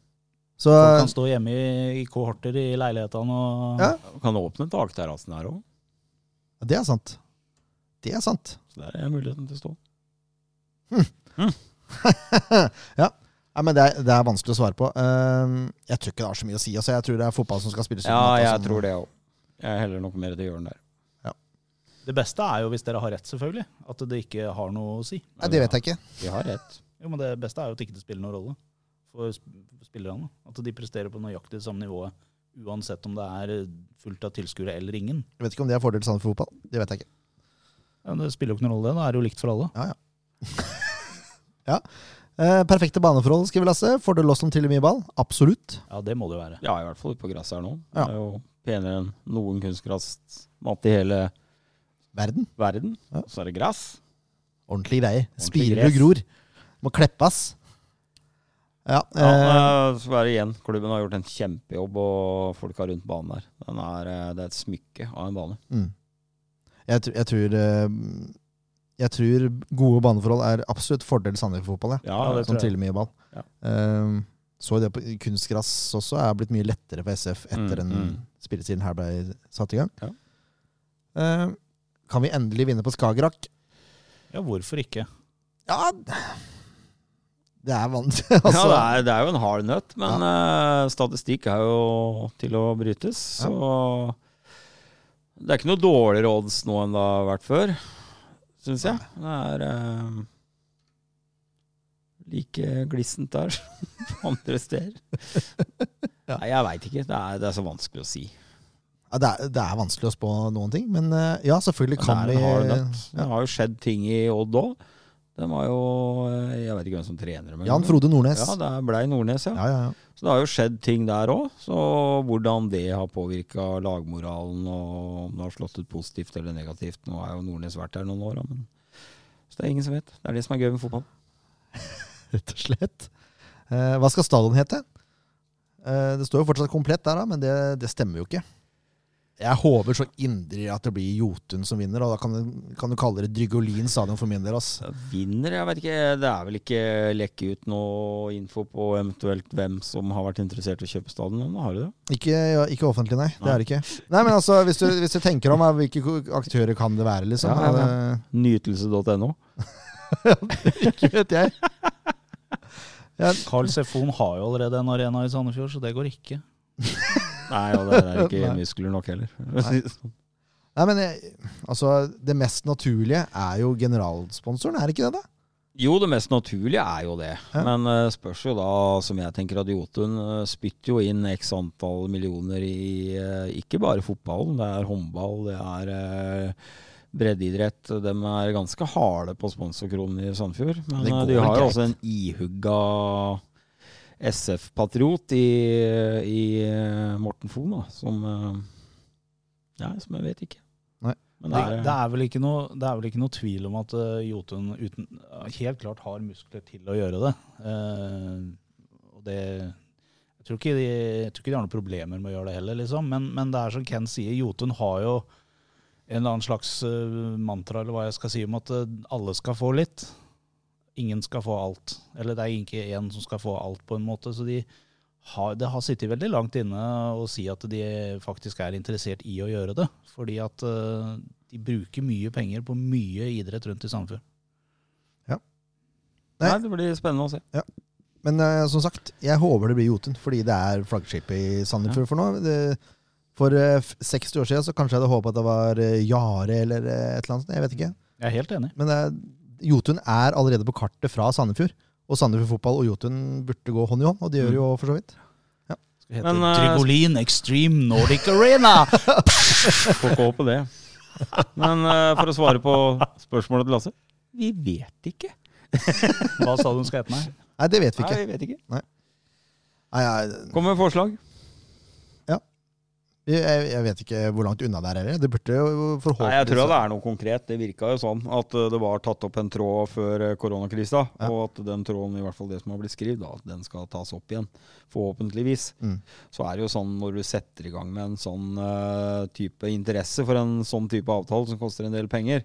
S1: Så
S3: Folk kan stå hjemme i, i kohorter i leilighetene og
S1: Ja.
S2: Kan åpne takterrassen her òg,
S1: det er sant. Det er sant.
S2: så der er muligheten til å stå.
S1: ja. Nei, men det er, det er vanskelig å svare på. Eh, jeg tror ikke det har så mye å si. Altså, jeg tror det er fotball som skal altså. spilles
S2: Ja, jeg tror Sånn det òg. Jeg heller nok mer til Jørn der.
S3: Det beste er jo hvis dere har rett, selvfølgelig, at det ikke har noe å si.
S1: Nei, det vet jeg ikke.
S2: Vi har rett.
S3: Jo, men det beste er jo at ikke det spiller noen rolle for sp- spillerne. At de presterer på nøyaktig det samme nivået, uansett om det er fullt av tilskuere eller ingen.
S1: Jeg vet ikke om det er fordel til Sandefjord fotball. Det vet jeg ikke.
S3: Ja, det spiller jo ikke noen rolle, da er det jo likt for alle.
S1: Eh, perfekte baneforhold, skriver Lasse. Fordel oss som til og mye ball. Absolutt.
S3: Ja, det må det jo være.
S2: Ja, i hvert fall ute på gresset her nå.
S1: Ja.
S2: Det er jo penere enn noen kunstgressmatt i hele
S1: Verden.
S2: verden.
S1: Ja.
S2: Så er det gress.
S1: Ordentlige greier.
S2: Ordentlig
S1: Spirer
S2: gress.
S1: og gror. Må kleppes. Ja,
S2: Ja,
S1: eh,
S2: eh, så er det igjen. Klubben har gjort en kjempejobb, og folka rundt banen der. Den er, eh, det er et smykke av en bane.
S1: mm. jeg, tr- jeg tror eh, Jeg tror gode baneforhold er absolutt fordel Sandefjord fotball. Ja.
S2: Ja,
S3: det
S1: Som
S3: tror jeg.
S1: triller mye ball.
S2: Ja.
S1: Eh, så det på kunstgress også er blitt mye lettere for SF
S2: Mm,
S1: etter den
S2: mm.
S1: spillestilen her ble satt i gang.
S2: Ja.
S1: Eh, kan vi endelig vinne på Skagerrak?
S3: Ja, hvorfor ikke?
S1: Ja Det er vanskelig, altså.
S2: ja, det er, det er jo en hard nøtt, men eh, statistikk er jo til å brytes. Så det er ikke noe dårligere odds nå enn det har vært før, syns jeg. Det er eh, like glissent der som andre steder. Nei, jeg veit ikke. Det er, det er så vanskelig å si.
S1: Ja, det, er, det er vanskelig å spå noen ting, men eh, ja, selvfølgelig
S2: Det
S1: kan
S2: er
S1: vi
S2: en hard nøtt. Det har jo skjedd ting i Odd òg. Den var jo eh, Jeg vet ikke hvem som trener dem.
S1: Jan Frode Nordnes.
S2: Ja, det blei Nordnes, ja.
S1: Ja, ja, ja.
S2: Så det har jo skjedd ting der òg. Så hvordan det har påvirka lagmoralen, og om det har slått ut positivt eller negativt Nå er jo Nordnes vært der noen år, da, men så det er ingen som vet. Det er det som er gøy med fotball.
S1: Rett og slett. Eh, hva skal stadion hete? Eh, det står jo fortsatt komplett der, da, men det, det stemmer jo ikke. Jeg håper så indre at det blir Jotun som vinner, og da kan du, kan du kalle det Drygolin stadion for min del. ass.
S2: Vinner, jeg vet ikke. Det er vel ikke lekke ut noe info på eventuelt hvem som har vært interessert i å kjøpe stadion ennå, har du det?
S1: Ikke, ja, ikke offentlig, nei. Det
S2: Nei.
S1: er det ikke. Nei, men altså, hvis du, hvis du tenker om eh, hvilke ko- aktører kan det være, liksom.
S2: Ja, ja,
S1: Eh,
S2: Nytelse.no.
S1: ikke vet jeg.
S3: Carl Sefon har jo allerede en arena i Sandefjord, så det går ikke.
S2: Nei, og det er ikke
S1: Nei.
S2: muskler nok heller. sånn.
S1: Nei, men jeg, altså, det mest naturlige er jo generalsponsoren, er det ikke det, da?
S2: Jo, det mest naturlige er jo det.
S1: Ja.
S2: Men uh, spørs jo da, som jeg tenker, at Jotun eh, spytter jo inn x antall millioner i eh, ikke bare fotballen. Det er håndball, det er eh, breddeidrett. De er ganske harde på sponsorkronene i Sandfjord. Men
S1: Det
S2: eh,
S1: går
S2: de har
S1: greit.
S2: jo også en ihugga SF-patriot i, i eh, Morten Fon, da, som eh, Nei, som jeg vet ikke.
S1: Nei.
S2: Men det
S3: Det,
S2: er,
S3: det, er vel ikke noe, det er vel ikke noe tvil om at eh, Jotun uten, helt klart har muskler til å gjøre det. Eh, og det jeg tror, ikke de, jeg tror ikke de har noen problemer med å gjøre det heller, liksom. men, men det er som Ken sier, Jotun har jo en eller annen slags eh, mantra eller hva jeg skal si om at eh, alle skal få litt. Ingen skal få alt. Eller det er ikke én som skal få alt, på en måte. Så de har, det har sittet veldig langt inne å si at de faktisk er interessert i å gjøre det. Fordi at eh, de bruker mye penger på mye idrett rundt i Sandefjord.
S2: nei, det blir spennende å se.
S1: Men eh, som sagt, jeg håper det blir Jotun, fordi det er flaggskipet i Sandefjord for nå. Det, for eh, f- 60 år siden så kanskje jeg hadde håpet at det var eh, Jare eller eh, et eller annet. sånt, Jeg vet ikke.
S3: Jeg er helt enig.
S1: Men det er, Jotun er allerede på kartet fra Sandefjord. Og Sandefjord fotball og Jotun burde gå hånd i hånd, og det gjør de jo for så vidt.
S3: Skal hete
S2: Men, eh,
S3: Trigolin Extreme Nordic Arena!
S2: Får ikke håpe det. Men eh, for å svare på spørsmålet til Lasse Vi vet ikke.
S3: Hva sa du hun skal hete meg?
S1: Nei, det vet vi
S2: Nei,
S1: ikke.
S2: vi vet ikke.
S1: Nei, jeg,
S2: Kom med forslag.
S1: jeg, jeg vet ikke hvor langt unna det er heller. Det burde jo
S2: Nei, Jeg tror
S1: forhåpentligvis
S2: det er noe konkret. Det virka jo sånn at eh, det var tatt opp en tråd før eh, koronakrisa,
S1: Ja.
S2: og at den tråden, i hvert fall det som har blitt skrevet, da, at den skal tas opp igjen. Forhåpentligvis.
S1: Mm.
S2: Så er det jo sånn når du setter i gang med en sånn eh, type interesse for en sånn type avtale som koster en del penger,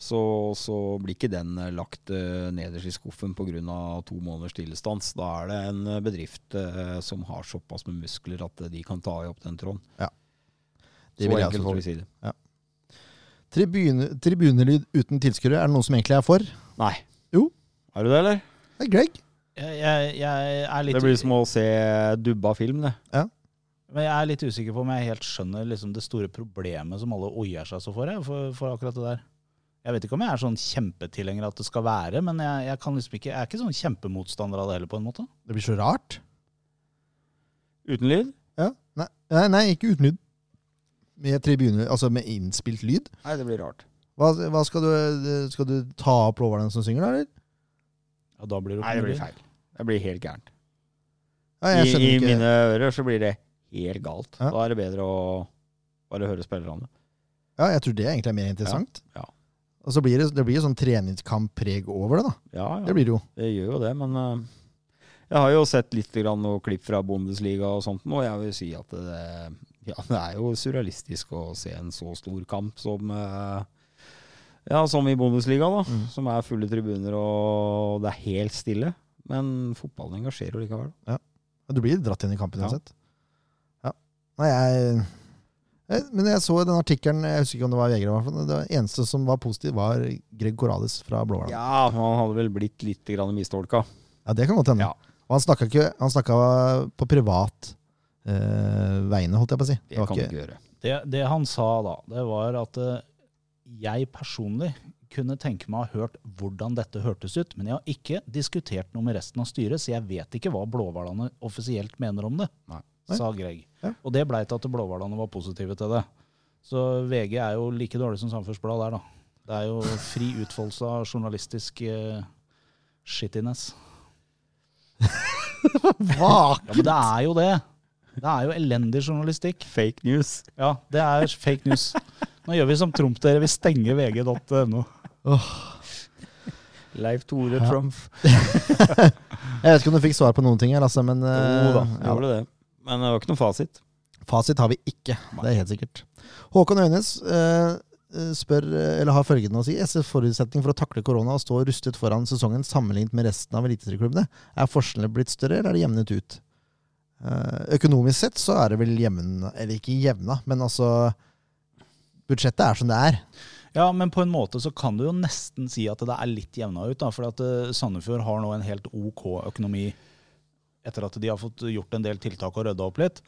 S2: så, så blir ikke den eh, lagt eh, nederst i skuffen pga. to måneders stillestans. Da er det en eh, bedrift eh, som har såpass med muskler at eh, de kan ta opp den tråden.
S1: det
S2: Så
S1: vil jeg
S2: enkelt
S1: også
S2: får
S1: tro.
S2: vi si det.
S1: Tribune, tribunelyd uten tilskuere, er det noen som egentlig er for?
S2: Nei.
S1: Jo.
S2: Er du det, eller?
S1: Det er Greg.
S3: Jeg, jeg, jeg, er litt,
S2: Det blir som å se dubba film, det.
S3: men jeg er litt usikker på om jeg helt skjønner liksom det store problemet som alle oier seg så for, jeg, for, for akkurat det der. Jeg vet ikke om jeg er sånn kjempetilhenger at det skal være, men jeg, jeg, kan liksom ikke, jeg er ikke sånn kjempemotstander av det heller, på en måte.
S1: Det blir så rart.
S2: Uten lyd?
S1: Ja. Nei, nei, nei ikke uten lyd. Med tribune, altså med innspilt lyd.
S2: Nei, det blir rart.
S1: Hva, hva skal, du, skal du ta opp loveren som synger, da? eller?
S3: Ja, da blir det, jo
S2: Nei, det
S3: komedie.
S2: blir feil. Det blir helt gærent.
S1: Ja,
S2: I,
S1: jeg skjønner
S2: I
S1: ikke.
S2: mine ører så blir det helt galt.
S1: Ja.
S2: Da er det bedre å bare høre spillerne.
S1: Ja, jeg tror det egentlig er mer interessant.
S2: Ja, ja.
S1: Og så blir det, det blir jo sånn treningskamp-preg over det, da.
S2: Ja,
S1: Det
S2: ja,
S1: blir det jo.
S2: det gjør jo det, men eh, jeg har jo sett litt grann noe klipp fra Bundesliga og sånt, og jeg vil si at det, ja, det er jo surrealistisk å se en så stor kamp som eh, Ja, som i Bundesliga, da.
S1: Mm.
S2: Som er fulle tribuner, og det er helt stille. Men fotballen engasjerer jo likevel.
S1: Ja, Du blir dratt inn i kampen
S2: Ja.
S1: uansett. Ja. Nei, jeg, jeg Men jeg så den artikkelen, jeg husker ikke om det var VG, eller hva for noe, det var- eneste som var positiv, var Greg Corales fra Blåhval. Ja.
S2: Ja, han hadde vel blitt litt grann mistolka.
S1: det kan godt hende.
S2: Ja.
S1: Og han snakka ikke Han snakka på privat eh, vegne, holdt jeg på å si. Det
S2: Det
S1: var
S2: kan du
S1: ikke,
S2: ikke gjøre.
S3: Det, det han sa da, det var at eh, jeg personlig kunne tenke meg å ha hørt hvordan dette hørtes ut, men jeg har ikke diskutert noe med resten av styret, så jeg vet ikke hva blåhvalene offisielt mener om det,
S2: Nei.
S3: sa Greg.
S1: Ja.
S3: Og det blei til at blåhvalene var positive til det. Så VG er jo like dårlig som Samfunnsbladet der, da. Det er jo fri utfoldelse av journalistisk eh, shittiness.
S1: Hva?
S3: Ja, men det er jo det! Det er jo elendig journalistikk.
S2: Fake news.
S3: Ja, det er fake news. Nå gjør vi som Trump, dere. Vi stenger vg.no.
S2: Leif Tore Trump.
S1: Jeg vet ikke om du fikk svar på noen ting, her, Lasse, men eh,
S2: Jo da,
S1: ja.
S2: gjorde det. Men det var ikke noe fasit.
S1: Fasit har vi ikke, det er helt sikkert. Håkon Øynes eh, eh, spør, eh, eller har følgende å si. SFs forutsetning for å takle korona og stå rustet foran sesongen sammenlignet med resten av eliteserieklubbene, er forskjellene blitt større, eller er det jevnet ut? Eh, økonomisk sett så er det vel jevna, eller ikke jevna, men altså Budsjettet er som det er.
S3: Ja, men på en måte så kan du jo nesten si at det er litt jevna ut, da. For at eh, Sandefjord har nå en helt OK økonomi etter at de har fått gjort en del tiltak og rydda opp litt.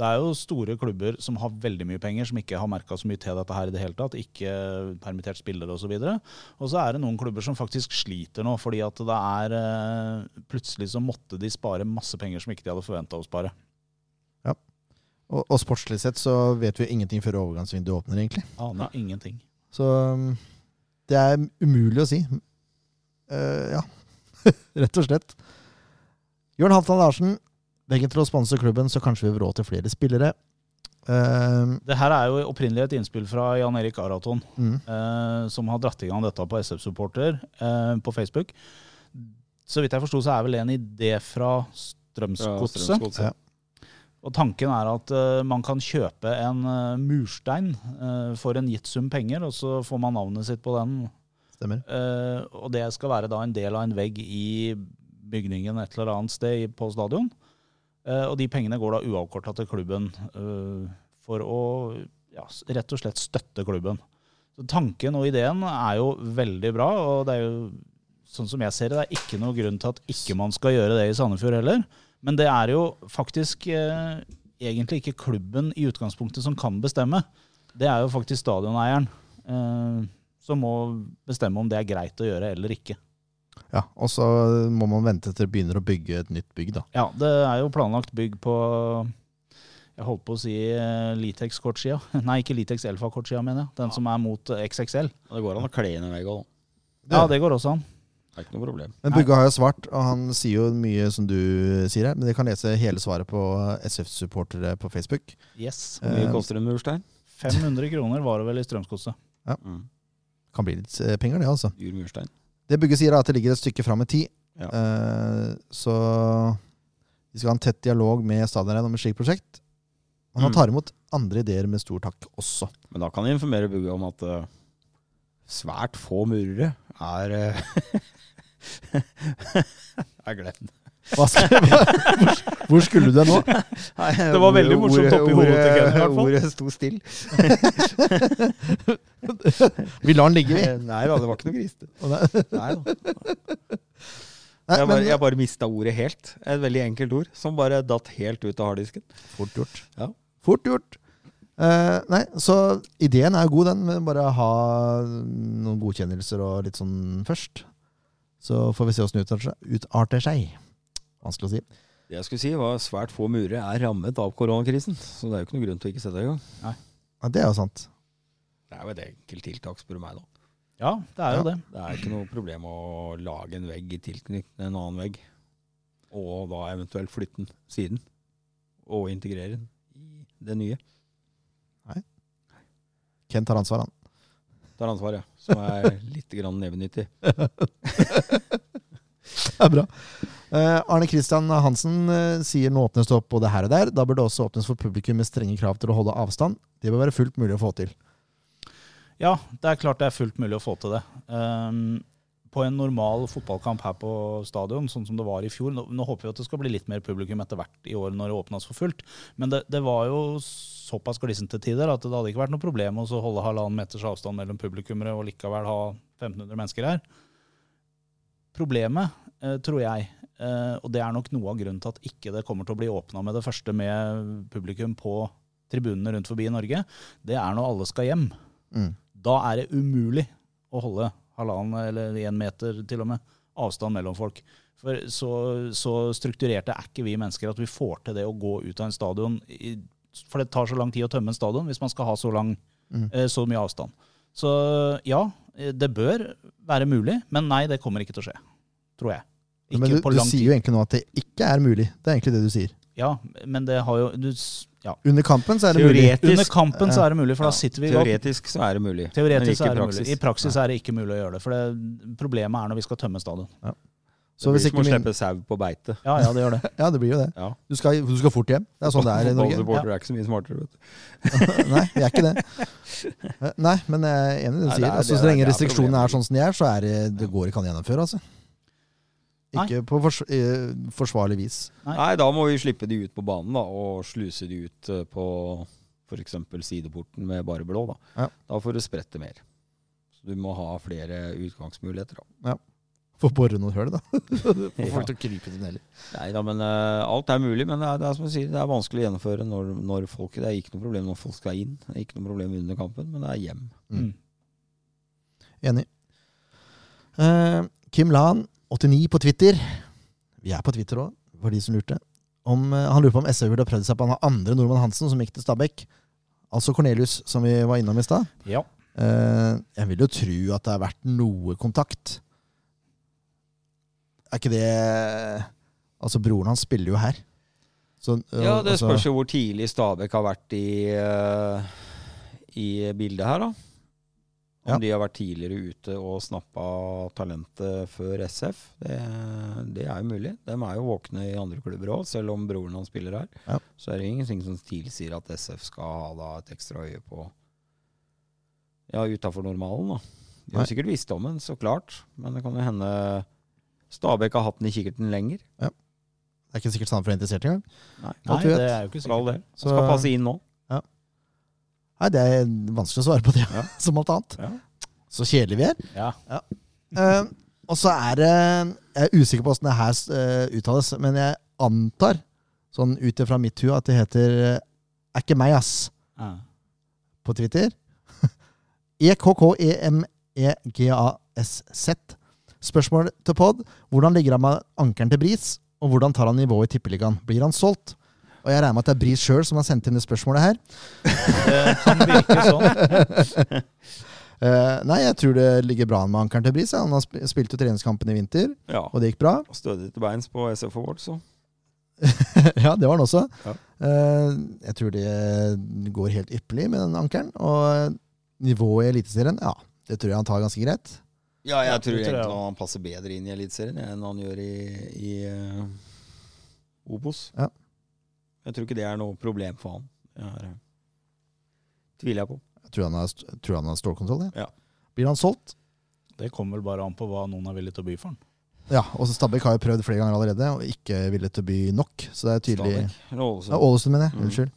S3: Det er jo store klubber som har veldig mye penger, som ikke har merka så mye til dette her i det hele tatt. Ikke permittert spillere osv. Og så er det noen klubber som faktisk sliter nå, fordi at det er eh, Plutselig så måtte de spare masse penger som ikke de hadde forventa å spare.
S1: Og, og sportslig sett så vet vi ingenting før overgangsvinduet åpner, egentlig.
S3: Aner ingenting.
S1: Så um, det er umulig å si. Eh, ja, rett og slett. Jørn Halvdan Larsen, begge til å sponse klubben, så kanskje vi får råd til flere spillere. Eh,
S3: Det her er jo opprinnelig et innspill fra Jan Erik Araton,
S1: mm.
S3: eh, som har dratt i gang dette på SF Supporter eh, på Facebook. Så vidt jeg forsto, så er vel en idé fra
S2: Fra
S3: Strømsgodset.
S2: Strømsgodset.
S1: Ja.
S3: Og tanken er at eh, man kan kjøpe en eh, murstein eh, for en gitt sum penger, og så får man navnet sitt på den.
S1: Stemmer.
S3: Eh, og det skal være da en del av en vegg i bygningen et eller annet sted i- på stadion. Eh, og de pengene går da uavkorta til klubben eh, for å ja, s- rett og slett støtte klubben. Så tanken og ideen er jo veldig bra, og det er jo sånn som jeg ser det, det er ikke noe grunn til at ikke man skal gjøre det i Sandefjord heller. Men det er jo faktisk eh, egentlig ikke klubben i utgangspunktet som kan bestemme. Det er jo faktisk stadioneieren. Eh, som må bestemme om det er greit å gjøre eller ikke.
S1: Ja, og så må man vente til det begynner å bygge et nytt bygg, da.
S3: Ja, det er jo planlagt bygg på Jeg holdt på å si eh, Litex-kortsida. Nei, ikke Litex Elfa-kortsida, mener jeg. Den som er mot eh, XXL.
S2: Det går an å kle inn en vegg òg, da.
S3: Ja, det går også an.
S2: Det er ikke noe problem.
S1: Men Bugge har jo svart, og han sier jo mye som du sier her. Men dere kan lese hele svaret på SF-supportere på Facebook.
S3: Yes.
S2: Hvor mye
S1: Eh,
S2: koster en murstein?
S3: 500 kroner var det vel i Strømsgodset.
S2: Mm.
S1: Kan bli litt eh, penger, det, altså.
S2: Dyr murstein.
S1: Det Bugge sier, er at det ligger et stykke fram i tid.
S2: Ja.
S1: Eh, så vi skal ha en tett dialog med Stadionrein om et slikt prosjekt. Og han
S2: Mm.
S1: tar imot andre ideer med stor takk også.
S2: Men da kan jeg informere Bugge om at eh, svært få murere er eh, Jeg glemte
S1: Hva skal, hvor, hvor skulle du deg nå?
S2: Det
S3: var veldig morsomt oppi hodet til Ken i hvert fall.
S2: Ordet sto stille.
S1: Vi lar den ligge, vi.
S2: Nei da, det var ikke noe grisete.
S1: Og det-
S2: Nei da.
S1: Nei,
S2: Jeg bare,
S1: men,
S2: jeg bare mista ordet helt. Et veldig enkelt ord som bare datt helt ut av harddisken.
S1: fort gjort.
S2: Ja.
S1: Fort gjort. Eh, nei, så ideen er jo god, den. Men bare ha noen godkjennelser og litt sånn først. Så får vi se åssen det utarter seg- utarter seg. Vanskelig å si.
S2: Det jeg skulle si var Svært få murere er rammet av koronakrisen, så det er jo ikke noe grunn til å ikke sette i gang.
S1: Ja, det er jo sant.
S2: Det er jo et enkelt tiltak, spør du meg. da
S3: Ja, det er jo det.
S2: Det er ikke noe problem å lage en vegg i tilknytning til en annen vegg, og da eventuelt flytte den siden, og integrere den i det nye.
S1: Ken tar ansvar, han.
S2: Tar ansvar, ja. Som er litt grann nevenyttig.
S1: Det er bra. Eh, Arne Christian Hansen eh, sier nå åpnes det opp både her og der. Da bør det også åpnes for publikum med strenge krav til å holde avstand. Det bør være fullt mulig å få til.
S3: Ja, det er klart det er fullt mulig å få til det. Ehm, på en normal fotballkamp her på stadion, sånn som det var i fjor Nå, nå håper vi at det skal bli litt mer publikum etter hvert i år når det åpnes for fullt. Men det, det var jo såpass glissent til tider at det hadde ikke vært noe problem å så holde halvannen meters avstand mellom publikummere og likevel ha 1500 mennesker her. Problemet, eh, tror jeg, eh, og det er nok noe av grunnen til at ikke det kommer til å bli åpna med det første med publikum på tribunene rundt forbi i Norge, det er når alle skal hjem.
S1: Mm.
S3: Da er det umulig å holde halvannen eller én meter til og med avstand mellom folk. For så, så strukturerte er ikke vi mennesker at vi får til det å gå ut av en stadion. I, for det tar så lang tid å tømme en stadion hvis man skal ha så, lang,
S1: Mm.
S3: eh, så mye avstand. Så ja, eh, det bør være mulig, men nei, det kommer ikke til å skje. Tror jeg. Ikke
S1: men du,
S3: på
S1: du
S3: lang
S1: sier
S3: tid.
S1: jo egentlig nå at det ikke er mulig. Det er egentlig det du sier.
S3: Ja, men det har jo du, s- ja.
S1: Under kampen så er det mulig.
S2: Teoretisk-
S3: Under kampen så er det mulig, for da
S2: Ja,
S3: sitter vi godt
S2: Teoretisk så er det mulig. men
S3: Teoretisk
S2: ikke
S3: er det
S2: praksis.
S3: mulig. I praksis er det ikke mulig å gjøre det. For det, problemet er når vi skal tømme stadion.
S1: Så hvis
S2: det blir som
S1: ikke
S2: å
S1: min-
S2: slippe sau på beite.
S3: Ja, ja, det gjør det.
S1: Ja, det blir jo det.
S2: Ja.
S1: Du skal, du skal fort hjem. Det er sånn det er i Norge.
S2: Fotballsupportere er ikke så mye smartere. Vet du.
S1: Nei, vi er ikke det. Eh, Nei, men jeg er enig i det du
S2: Nei, det
S1: sier.
S2: er-
S1: Altså,
S2: det
S1: så
S2: er-
S1: lenge
S2: det er
S1: restriksjonene
S2: problemet.
S1: er sånn som de er, så er det, det går ikke an å gjennomføre, altså.
S3: Nei.
S1: Ikke på fors eh, forsvarlig vis.
S3: Nei.
S2: Nei, da må vi slippe de ut på banen da, og sluse de ut eh, på f.eks. sideporten med bare blå. Da,
S1: Ja.
S2: da får du spredt det mer. Så du må ha flere utgangsmuligheter. Da.
S1: Få bore noen høl, da. Få
S2: Ja.
S1: folk til å krype i tunneler.
S2: Nei da, men eh, alt er mulig. Men det er, det er som jeg sier, det er vanskelig å gjennomføre når, når folk Det er ikke noe problem når folk skal inn, det er ikke noe problem under kampen, men det er hjem.
S1: Mm.
S3: Mm.
S1: Enig. Eh, Kim Lan, 89 på Twitter. Vi er på Twitter òg, for de som lurte. Om, eh, han lurer på om SV burde ha prøvd seg på han andre nordmann Hansen, som gikk til Stabæk. Altså Cornelius, som vi var innom i stad.
S3: Ja.
S1: Eh, jeg vil jo tro at det har vært noe kontakt. Er ikke det Altså, broren hans spiller jo her. Så, øh,
S2: Ja, det
S1: altså-
S2: spørs jo hvor tidlig Stabæk har vært i, eh, i bildet her, da. Om
S1: Ja.
S2: de har vært tidligere ute og snappa talentet før SF. Det, det er jo mulig. De er jo våkne i andre klubber òg, selv om broren hans spiller her.
S1: Ja.
S2: Så er det ingenting som tilsier at SF skal ha da et ekstra øye på Ja, utafor normalen, da. De
S1: Nei.
S2: har sikkert visst om den, så klart. Men det kan jo hende Stabæk har hatt den i kikkerten lenger.
S1: Det er ikke sikkert Sandefjord er interessert engang.
S2: Nei,
S3: Nei,
S1: du vet.
S3: det er jo ikke
S2: for all
S3: sikkert.
S2: del. Han skal
S1: Så-
S2: passe inn nå.
S1: Nei, det er vanskelig å svare på det,
S2: Ja.
S1: som alt annet.
S2: Ja.
S1: Så kjedelige vi er.
S3: Ja.
S1: Eh, og så er det Jeg er usikker på åssen det her eh, uttales, men jeg antar, sånn ut ifra mitt hue, at det heter eh, Er ikke meg, ass,
S3: Ja.
S1: på Twitter. E EKKEMEGASZ. Spørsmål til pod. Hvordan ligger han med ankelen til Bris, og hvordan tar han nivået i Tippeligaen? Blir han solgt? Og jeg regner med at det er Bris sjøl som har sendt inn det spørsmålet her.
S3: Eh, Som virker sånn.
S1: Eh, nei, jeg tror det ligger bra an med ankelen til Bris. ja. Han har sp- spilt jo treningskampen i vinter,
S2: Ja.
S1: og det gikk bra.
S2: Stødig til beins på SF Awards, så.
S1: ja, det var han også.
S2: Ja.
S1: Eh, jeg tror det går helt ypperlig med den ankelen. Og nivået i Eliteserien, ja, det tror jeg han tar ganske greit.
S2: Ja, jeg
S3: Ja,
S2: tror
S3: det tror jeg
S2: egentlig
S3: også.
S2: han passer bedre inn i Eliteserien enn han gjør i, i eh, Obos.
S1: Ja.
S2: Jeg tror ikke det er noe problem for han. Det er, eh, tviler jeg på.
S1: Jeg tror han har, st- tror han har stålkontroll. jeg.
S2: Ja.
S1: Blir han solgt?
S3: Det kommer vel bare an på hva noen er villig til å by for den.
S1: Ja, og så Stabæk har jo prøvd flere ganger allerede og ikke villet til å by nok. Så det er tydelig
S2: Stabæk, eller Ålesund.
S1: ja, Ålesund, mener jeg.
S2: Mm.
S1: Unnskyld.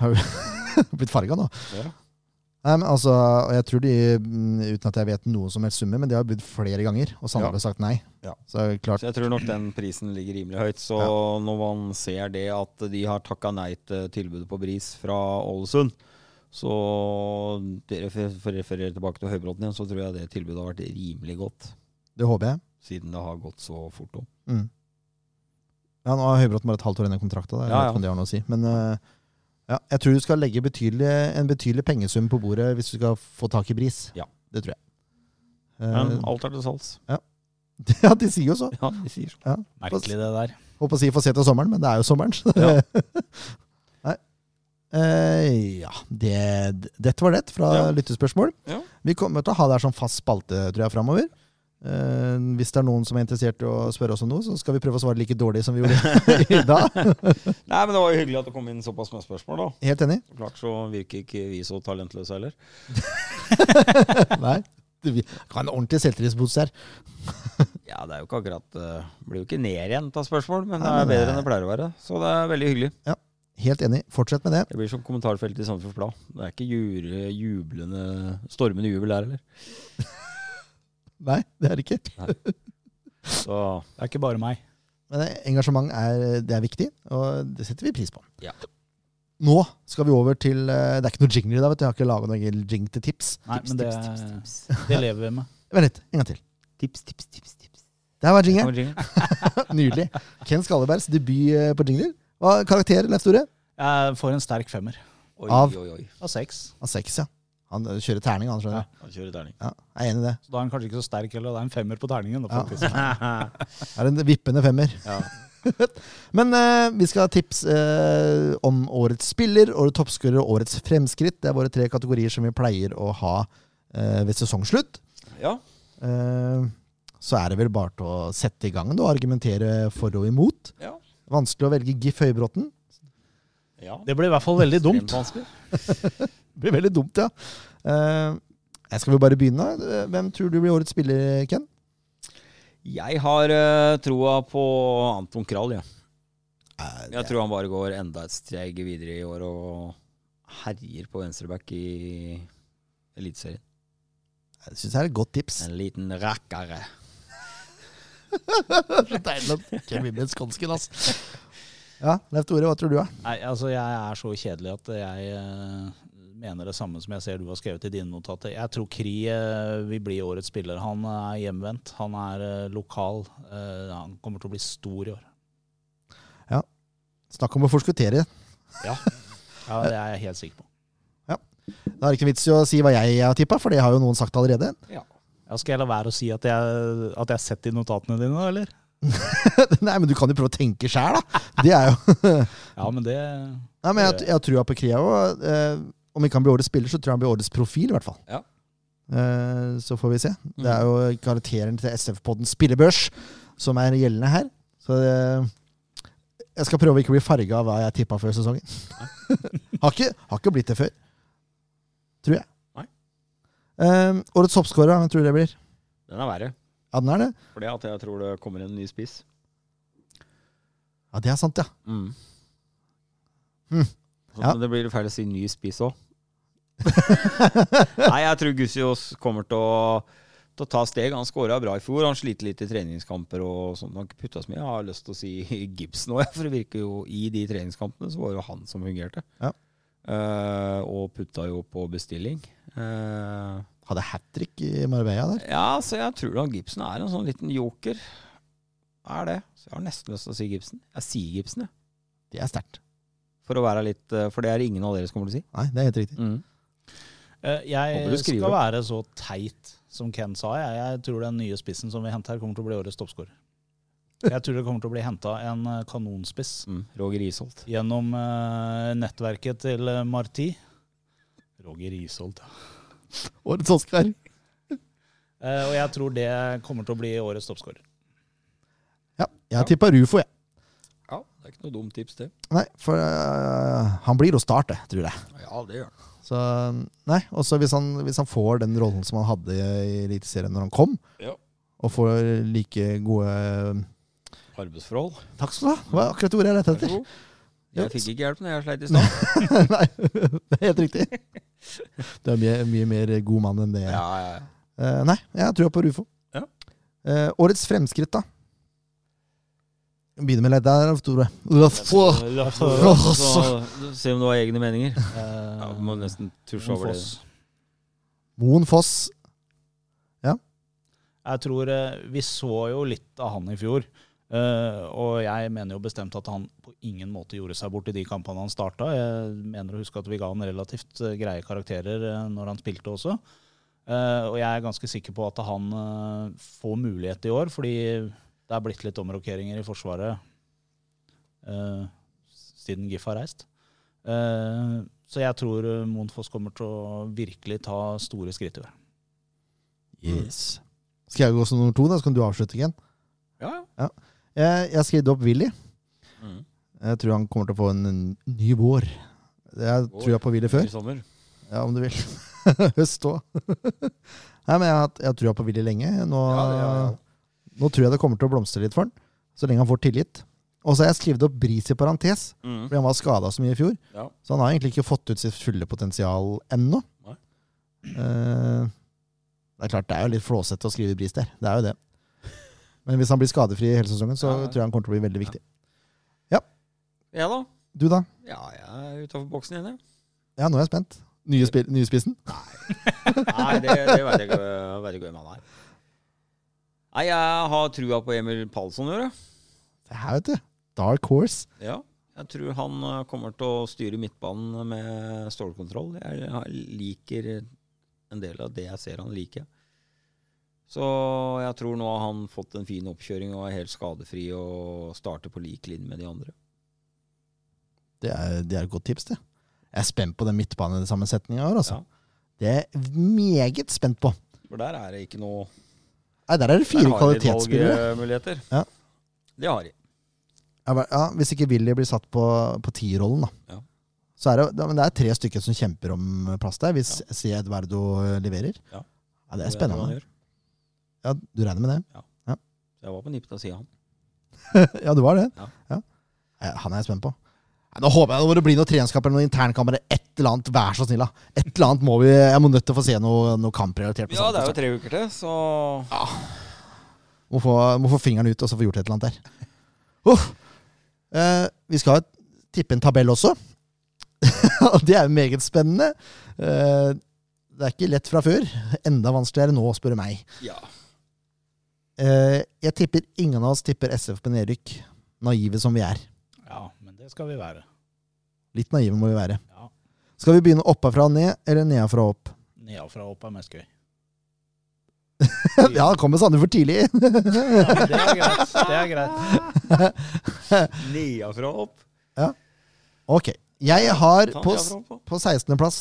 S1: Har jo blitt farga nå.
S2: Ja.
S1: Nei, men altså, og jeg tror de, mm, uten at jeg vet noen som helst summe, men de har budt flere ganger, og Sandefjord har sagt nei.
S2: Ja.
S1: Så det er klart,
S2: Så jeg tror nok den prisen ligger rimelig høyt. Så når man ser det at de har takka nei til tilbudet på Bris fra Ålesund, så dere refererer tilbake til Høybråten igjen, så tror jeg det tilbudet har vært rimelig godt.
S1: det håper jeg.
S2: Siden det har gått så fort opp.
S1: Mm. Ja, nå har Høybråten bare et halvt år igjen i kontrakta. da. Jeg
S2: Ja,
S1: vet
S2: ja.
S1: ikke om det har noe å si. Men eh, ja, jeg tror du skal legge betydelig, en betydelig pengesum på bordet hvis du skal få tak i Bris.
S2: Ja.
S1: Det tror jeg.
S2: Men
S1: Eh,
S2: alt er til salgs.
S1: ja, de sier jo så.
S2: Ja, de sier så.
S3: Merkelig, det der.
S1: Håper å si få se til sommeren, men det er jo sommeren. så det- Nei. Eh, ja, det, dette var det fra
S2: Ja.
S1: lyttespørsmål.
S2: Ja.
S1: Vi kommer til å ha det her som fast spalte tror jeg, framover. Eh, hvis det er noen som er interessert i å spørre oss om noe, så skal vi prøve å svare like dårlig som vi gjorde i dag.
S2: Nei, men det var jo hyggelig at det kom inn såpass med spørsmål, da.
S1: Helt enig?
S2: Så klart så virker ikke vi så talentløse heller.
S1: Nei. Du, vi kan ha en ordentlig selvtillitsboost her.
S2: Ja, det er jo ikke akkurat eh, Blir jo ikke nedrent av spørsmål, men det
S1: Nei,
S2: er
S1: men det
S2: bedre enn det pleier å være. Så det er veldig hyggelig.
S1: Helt enig. Fortsett med det.
S2: Det blir som kommentarfeltet i Sandefjords Blad. Det er ikke jure, jublende stormende jubel der heller.
S1: Nei, det er det ikke.
S2: Så
S3: Det er ikke bare meg.
S1: Men eh, engasjement er, det er viktig, og det setter vi pris på.
S2: Ja.
S1: Nå skal vi over til eh, Det er ikke noe jingler i dag, vet du. Jeg har ikke laga noen jing til tips.
S3: Nei, men det, det lever vi med.
S1: Vent litt, en gang til.
S2: tips, tips, tips. tips.
S1: Der var
S2: Det
S1: jingeren.
S2: kommer jingle.
S1: Nydelig. Ken Skallebergs debut eh, på jingler. Hva er karakter, Leif Store?
S3: Jeg får en sterk femmer
S2: Oi,
S1: Av.
S2: oi, oi.
S3: av seks.
S1: Han seks, ja. Han eh, kjører terning, han, skjønner du.
S2: Han kjører terning.
S1: Ja, jeg er enig i det.
S3: Så da er den kanskje ikke så sterk heller. Det er en femmer på terningen. Da,
S1: Ja.
S3: faktisk.
S1: Det er en vippende femmer.
S2: Ja.
S1: Men eh, vi skal ha tips eh, om årets spiller, årets toppskårer og årets fremskritt. Det er våre tre kategorier som vi pleier å ha eh, ved sesongslutt.
S2: ja.
S1: Eh, så er det vel bare til å sette i gang da, og argumentere for og imot.
S2: Ja.
S1: Vanskelig å velge Gif Høybråten.
S2: ja.
S3: Det blir i hvert fall veldig dumt.
S2: Ekstremt vanskelig.
S1: Det blir veldig dumt, ja. Eh, jeg skal vel bare begynne. Eh, Hvem tror du blir årets spiller, Ken?
S2: Jeg har eh, troa på Anton Krall, jeg.
S1: Eh,
S2: Jeg tror han bare går enda et steg videre i år og herjer på venstreback i Eliteserien.
S1: Jeg syns det er et godt tips.
S2: En liten rakkere.
S1: Så deilig at Ken vinner skånsken, ass. Ja, Leif Tore, hva tror du, da?
S3: Nei, altså Jeg er så kjedelig at jeg eh, mener det samme som jeg ser du har skrevet i dine notater. Jeg tror Kri eh, vil bli årets spiller. Han eh, er hjemvendt, han er eh, lokal. eh, han kommer til å bli stor i år.
S1: Snakk om å forskuttere.
S3: Ja, Det er jeg helt sikker på.
S1: Da er det ikke vits i å si hva jeg har tippa, for det har jo noen sagt allerede.
S3: Ja, skal jeg la være å si at jeg, at jeg har sett i notatene dine, da, eller?
S1: Nei, men du kan jo prøve å tenke sjæl, da. Det er jo
S3: Ja, men det
S1: Nei, men jeg, jeg har trua på Kria òg. Eh, om ikke han blir årets spiller, så tror jeg han blir årets profil, i hvert fall.
S2: Ja.
S1: Eh, så får vi se. Det er jo karakteren til SF-podden Spillebørs som er gjeldende her. Så eh, jeg skal prøve å ikke bli farga av hva jeg tippa før sesongen. har, ikke, har ikke blitt det før. Tror jeg.
S2: Nei.
S1: Eh, årets toppskårer, hva tror du det blir?
S2: Den er verre.
S1: Ja, den er det?
S2: Fordi at jeg tror det kommer en ny spiss.
S1: Ja, det er sant, ja.
S2: Mm.
S1: Hmm.
S2: Så,
S1: Ja.
S2: Men det blir feil å si ny spiss òg. Nei, jeg tror Gussiås kommer til å, til å ta steg. Han skåra bra i fjor. Han sliter litt i treningskamper og sånt. Han har ikke putta så mye. Jeg har lyst til å si Gibson òg, for det virker jo i de treningskampene så var det jo han som fungerte.
S1: Ja.
S2: Eh, og putta jo på bestilling. Eh,
S1: Hadde hat trick i Marbella der.
S2: ja, så jeg tror da Gibson er en sånn liten joker. Er det. Så jeg har nesten lyst til å si Gibson. Jeg sier Gibson, jeg.
S1: Det er sterkt.
S2: For å være litt eh, For det er ingen av dere som kommer til å si.
S1: Nei, det er helt riktig.
S2: Mm.
S3: Eh,
S2: Håper du
S3: Jeg
S2: skriver
S3: skal
S2: opp.
S3: være så teit som Ken sa. Jeg, jeg tror den nye spissen som vi henter her, kommer til å bli årets toppskårer. Jeg tror det kommer til å bli henta en eh, kanonspiss
S2: Mm. Roger Isholt.
S3: gjennom eh, nettverket til eh, Marti. Roger Isholt, ja.
S1: Årets Oscar.
S3: Eh, Og jeg tror det kommer til å bli årets toppskårer.
S1: Ja, jeg tippa Rufo, jeg.
S2: Ja, det er ikke noe dumt tips, det.
S1: Nei, for øh, han blir å starte, tror jeg.
S2: Ja, det gjør han.
S1: Så, nei, også hvis han, hvis han får den rollen som han hadde i Eliteserien når han kom,
S2: Ja.
S1: og får like gode
S2: Arbeidsforhold.
S1: Takk skal du ha! Det var akkurat ordet jeg lette
S2: Vær så
S1: etter.
S2: god. Jeg fikk ikke hjelp når jeg sleit i stad.
S1: nei, det er helt riktig. Du er mye, mye mer god mann enn det. jeg er.
S2: ja, ja.
S1: Eh, nei, jeg tror på Rufo.
S2: Ja.
S1: Eh, årets fremskritt, da? Vi Begynner med leddet her, Alf Tore. Løft-
S2: Så, se om du har egne meninger.
S3: Eh,
S2: Ja, vi må nesten tusje over det.
S3: Foss.
S1: Moen Foss.
S3: Jeg tror eh, Vi så jo litt av han i fjor. eh, og jeg mener jo bestemt at han på ingen måte gjorde seg bort i de kampene han starta. Jeg mener å huske at vi ga han relativt eh, greie karakterer eh, når han spilte også. Eh, og jeg er ganske sikker på at han eh, får mulighet i år, fordi det er blitt litt omrokeringer i Forsvaret eh, siden GIF har reist. Eh, så jeg tror eh, Moen Foss kommer til å virkelig ta store skritt i år.
S2: Mm.
S1: Yes. Skal jeg gå som nummer to, da, så kan du avslutte igjen?
S2: Ja,
S1: Jeg, jeg skrev opp Willy.
S2: ja. Mm.
S1: Jeg tror han kommer til å få en, en ny vår. Jeg
S2: Vår.
S1: tror jeg på Willy før.
S2: I sommer.
S1: Ja, om du vil. Høst òg. Nei, men jeg har hatt- jeg har trua på Willy lenge. Nå,
S2: Ja, ja, ja.
S1: nå tror jeg det kommer til å blomstre litt for han, så lenge han får tillit. Og så har jeg skrevet opp Bris i parentes,
S2: Mm.
S1: fordi han var skada så mye i fjor.
S2: Ja.
S1: Så han har egentlig ikke fått ut sitt fulle potensial ennå.
S2: Nei.
S1: Eh, det er klart, det er jo litt flåsete å skrive Bris der. Det er jo det. Men hvis han blir skadefri hele sesongen, så
S2: Ja, ja.
S1: tror jeg han kommer til å bli veldig viktig.
S2: ja da.
S1: Du, da?
S2: Ja, jeg er utafor boksen igjen, jeg.
S1: Ja, nå er jeg spent. Nye, spi nye spissen?
S2: Nei, det, det vet jeg ikke vet jeg ikke hvem han er. Nei, jeg har trua på Emil Palsson i år, jeg.
S1: Det her, vet du. Dark Horse.
S2: ja. Jeg tror han eh, kommer til å styre midtbanen med stålkontroll. Jeg jeg liker en del av det jeg ser han liker. Så jeg tror nå har han fått en fin oppkjøring og er helt skadefri og starter på lik linje med de andre.
S1: Det er, det er et godt tips, det. Jeg er spent på den midtbanesammensetninga her, altså.
S2: Ja.
S1: Det er jeg meget spent på.
S2: For der er det ikke noe
S1: Nei, der er det fire
S2: der har de
S1: kvalitetsspillere.
S2: valgmuligheter.
S1: Ja.
S2: Det har de.
S1: Jeg bare- Ja, hvis ikke Willy blir satt på, på tierrollen, da.
S2: Ja.
S1: Så er det, da- men det er tre stykker som kjemper om plass der, hvis Si Edvardo eh, leverer.
S2: Ja.
S1: ja, det er
S2: vet jeg hva han
S1: spennende.
S2: gjør.
S1: Ja, du regner med det?
S2: Jeg var på nippet til å si han.
S1: ja, du var det?
S2: Ja.
S1: Eh, Han er jeg spent på. Nei, Nå håper jeg det må det bli noe treningskamp eller noe internkamp eller et eller annet. Vær så snill, da. Et eller annet må vi Jeg må nødt til å få se noe, noe kamprelatert. på
S2: Ja, det er jo
S1: sånt.
S2: tre uker til, så
S1: Må få, må få fingeren ut og så få gjort et eller annet der. Uff. Eh, vi skal tippe en tabell også. Og det er jo meget spennende. Eh, det er ikke lett fra før. Enda vanskeligere nå, spør du meg.
S2: ja.
S1: Eh, jeg tipper ingen av oss tipper SF på nedrykk. Naive som vi er.
S3: Ja, men det skal vi være.
S1: Litt naive må vi være.
S3: Ja.
S1: Skal vi begynne oppafra og ned, eller nedafra og opp?
S3: Nedenfra og opp er mest gøy.
S1: Ja, det kommer Sande for tidlig.
S3: Det er greit. Det er greit.
S2: Nedenfra og opp.
S1: Ok. Jeg har
S2: Ta
S1: på,
S2: nedenfra og opp.
S1: på 16.-plass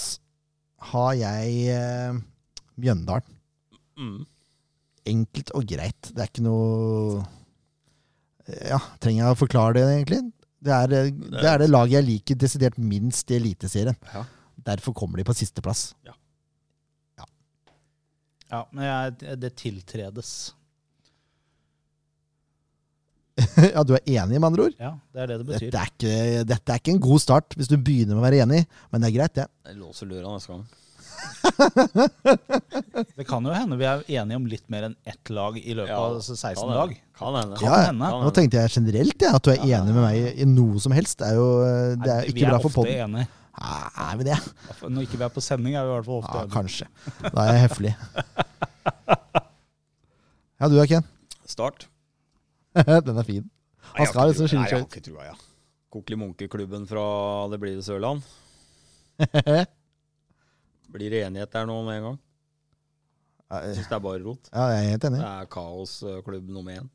S1: har jeg eh, Mjøndalen.
S2: Mm.
S1: Enkelt og greit. Det er ikke noe Ja, trenger jeg å forklare det, egentlig? Det er eh, det, er det laget jeg liker desidert minst i Eliteserien.
S2: Ja.
S1: Derfor kommer de på sisteplass.
S3: Ja, men jeg, det tiltredes.
S1: ja, du er enig, med andre ord?
S3: Ja, det er det det
S1: Dette
S3: betyr.
S1: er, ikke, dette er ikke en god start, hvis du begynner med å være enig, men det er greit, det.
S2: Jeg låser døra neste gang.
S3: Det kan jo hende vi er enige om litt mer enn ett lag i løpet av altså 16
S2: kan
S3: lag.
S2: hende. Kan hende.
S3: Kan
S1: Ja, ja.
S3: hende.
S2: Kan
S1: Nå tenkte jeg generelt jeg, at du er enig med meg i- i noe som helst. Det er jo eh, det er jo
S3: vi
S1: ikke
S3: er
S1: bra for
S3: ofte
S1: podden.
S3: enige.
S1: Ah, Er vi det?
S3: Når ikke vi er på sending, er vi i hvert fall ofte
S1: Ja,
S3: enige.
S1: kanskje. Da er jeg høflig. Ja, du da, Ken.
S2: Start.
S1: Den er fin.
S2: Nei,
S1: Han
S2: jeg
S1: skal
S2: har ikke
S1: liksom skille
S2: trua. Nei, jeg har
S1: seg ut.
S2: ikke trua, ja. Kokeli Munke-klubben fra Det blir det Sørland. Blir det enighet der nå med en gang? Jeg
S1: Ja,
S2: syns det er bare rot.
S1: jeg er helt
S2: Det
S1: enig.
S2: er kaosklubb nummer én.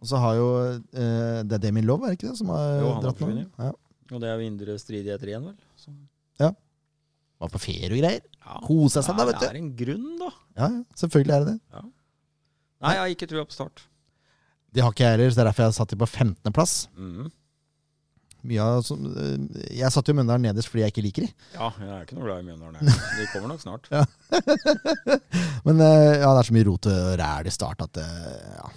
S1: Og så har jo eh, Det er Demi Love, er det ikke det, som har
S2: Jo, han har
S1: dratt nå?
S2: forsvunnet.
S1: Ja.
S2: Og det er jo indre stridigheter igjen, vel? Så.
S1: Var på ferie og greier.
S2: Ja.
S1: Kosa seg sånn, da,
S2: Nei,
S1: vet
S2: det
S1: du.
S2: er en grunn, da.
S1: Ja, ja, selvfølgelig er det det.
S2: Nei, jeg har ikke trua på Start.
S1: Det har ikke jeg heller, så det er derfor jeg har satt dem på 15.-plass.
S2: Mm.
S1: Mye av som, eh, Jeg satte jo Mjøndalen nederst fordi jeg ikke liker de.
S2: Ja, jeg er ikke noe glad i Mjøndalen. jeg. De kommer nok snart.
S1: Men eh, ja, det er så mye rot og ræl i start at eh, ja.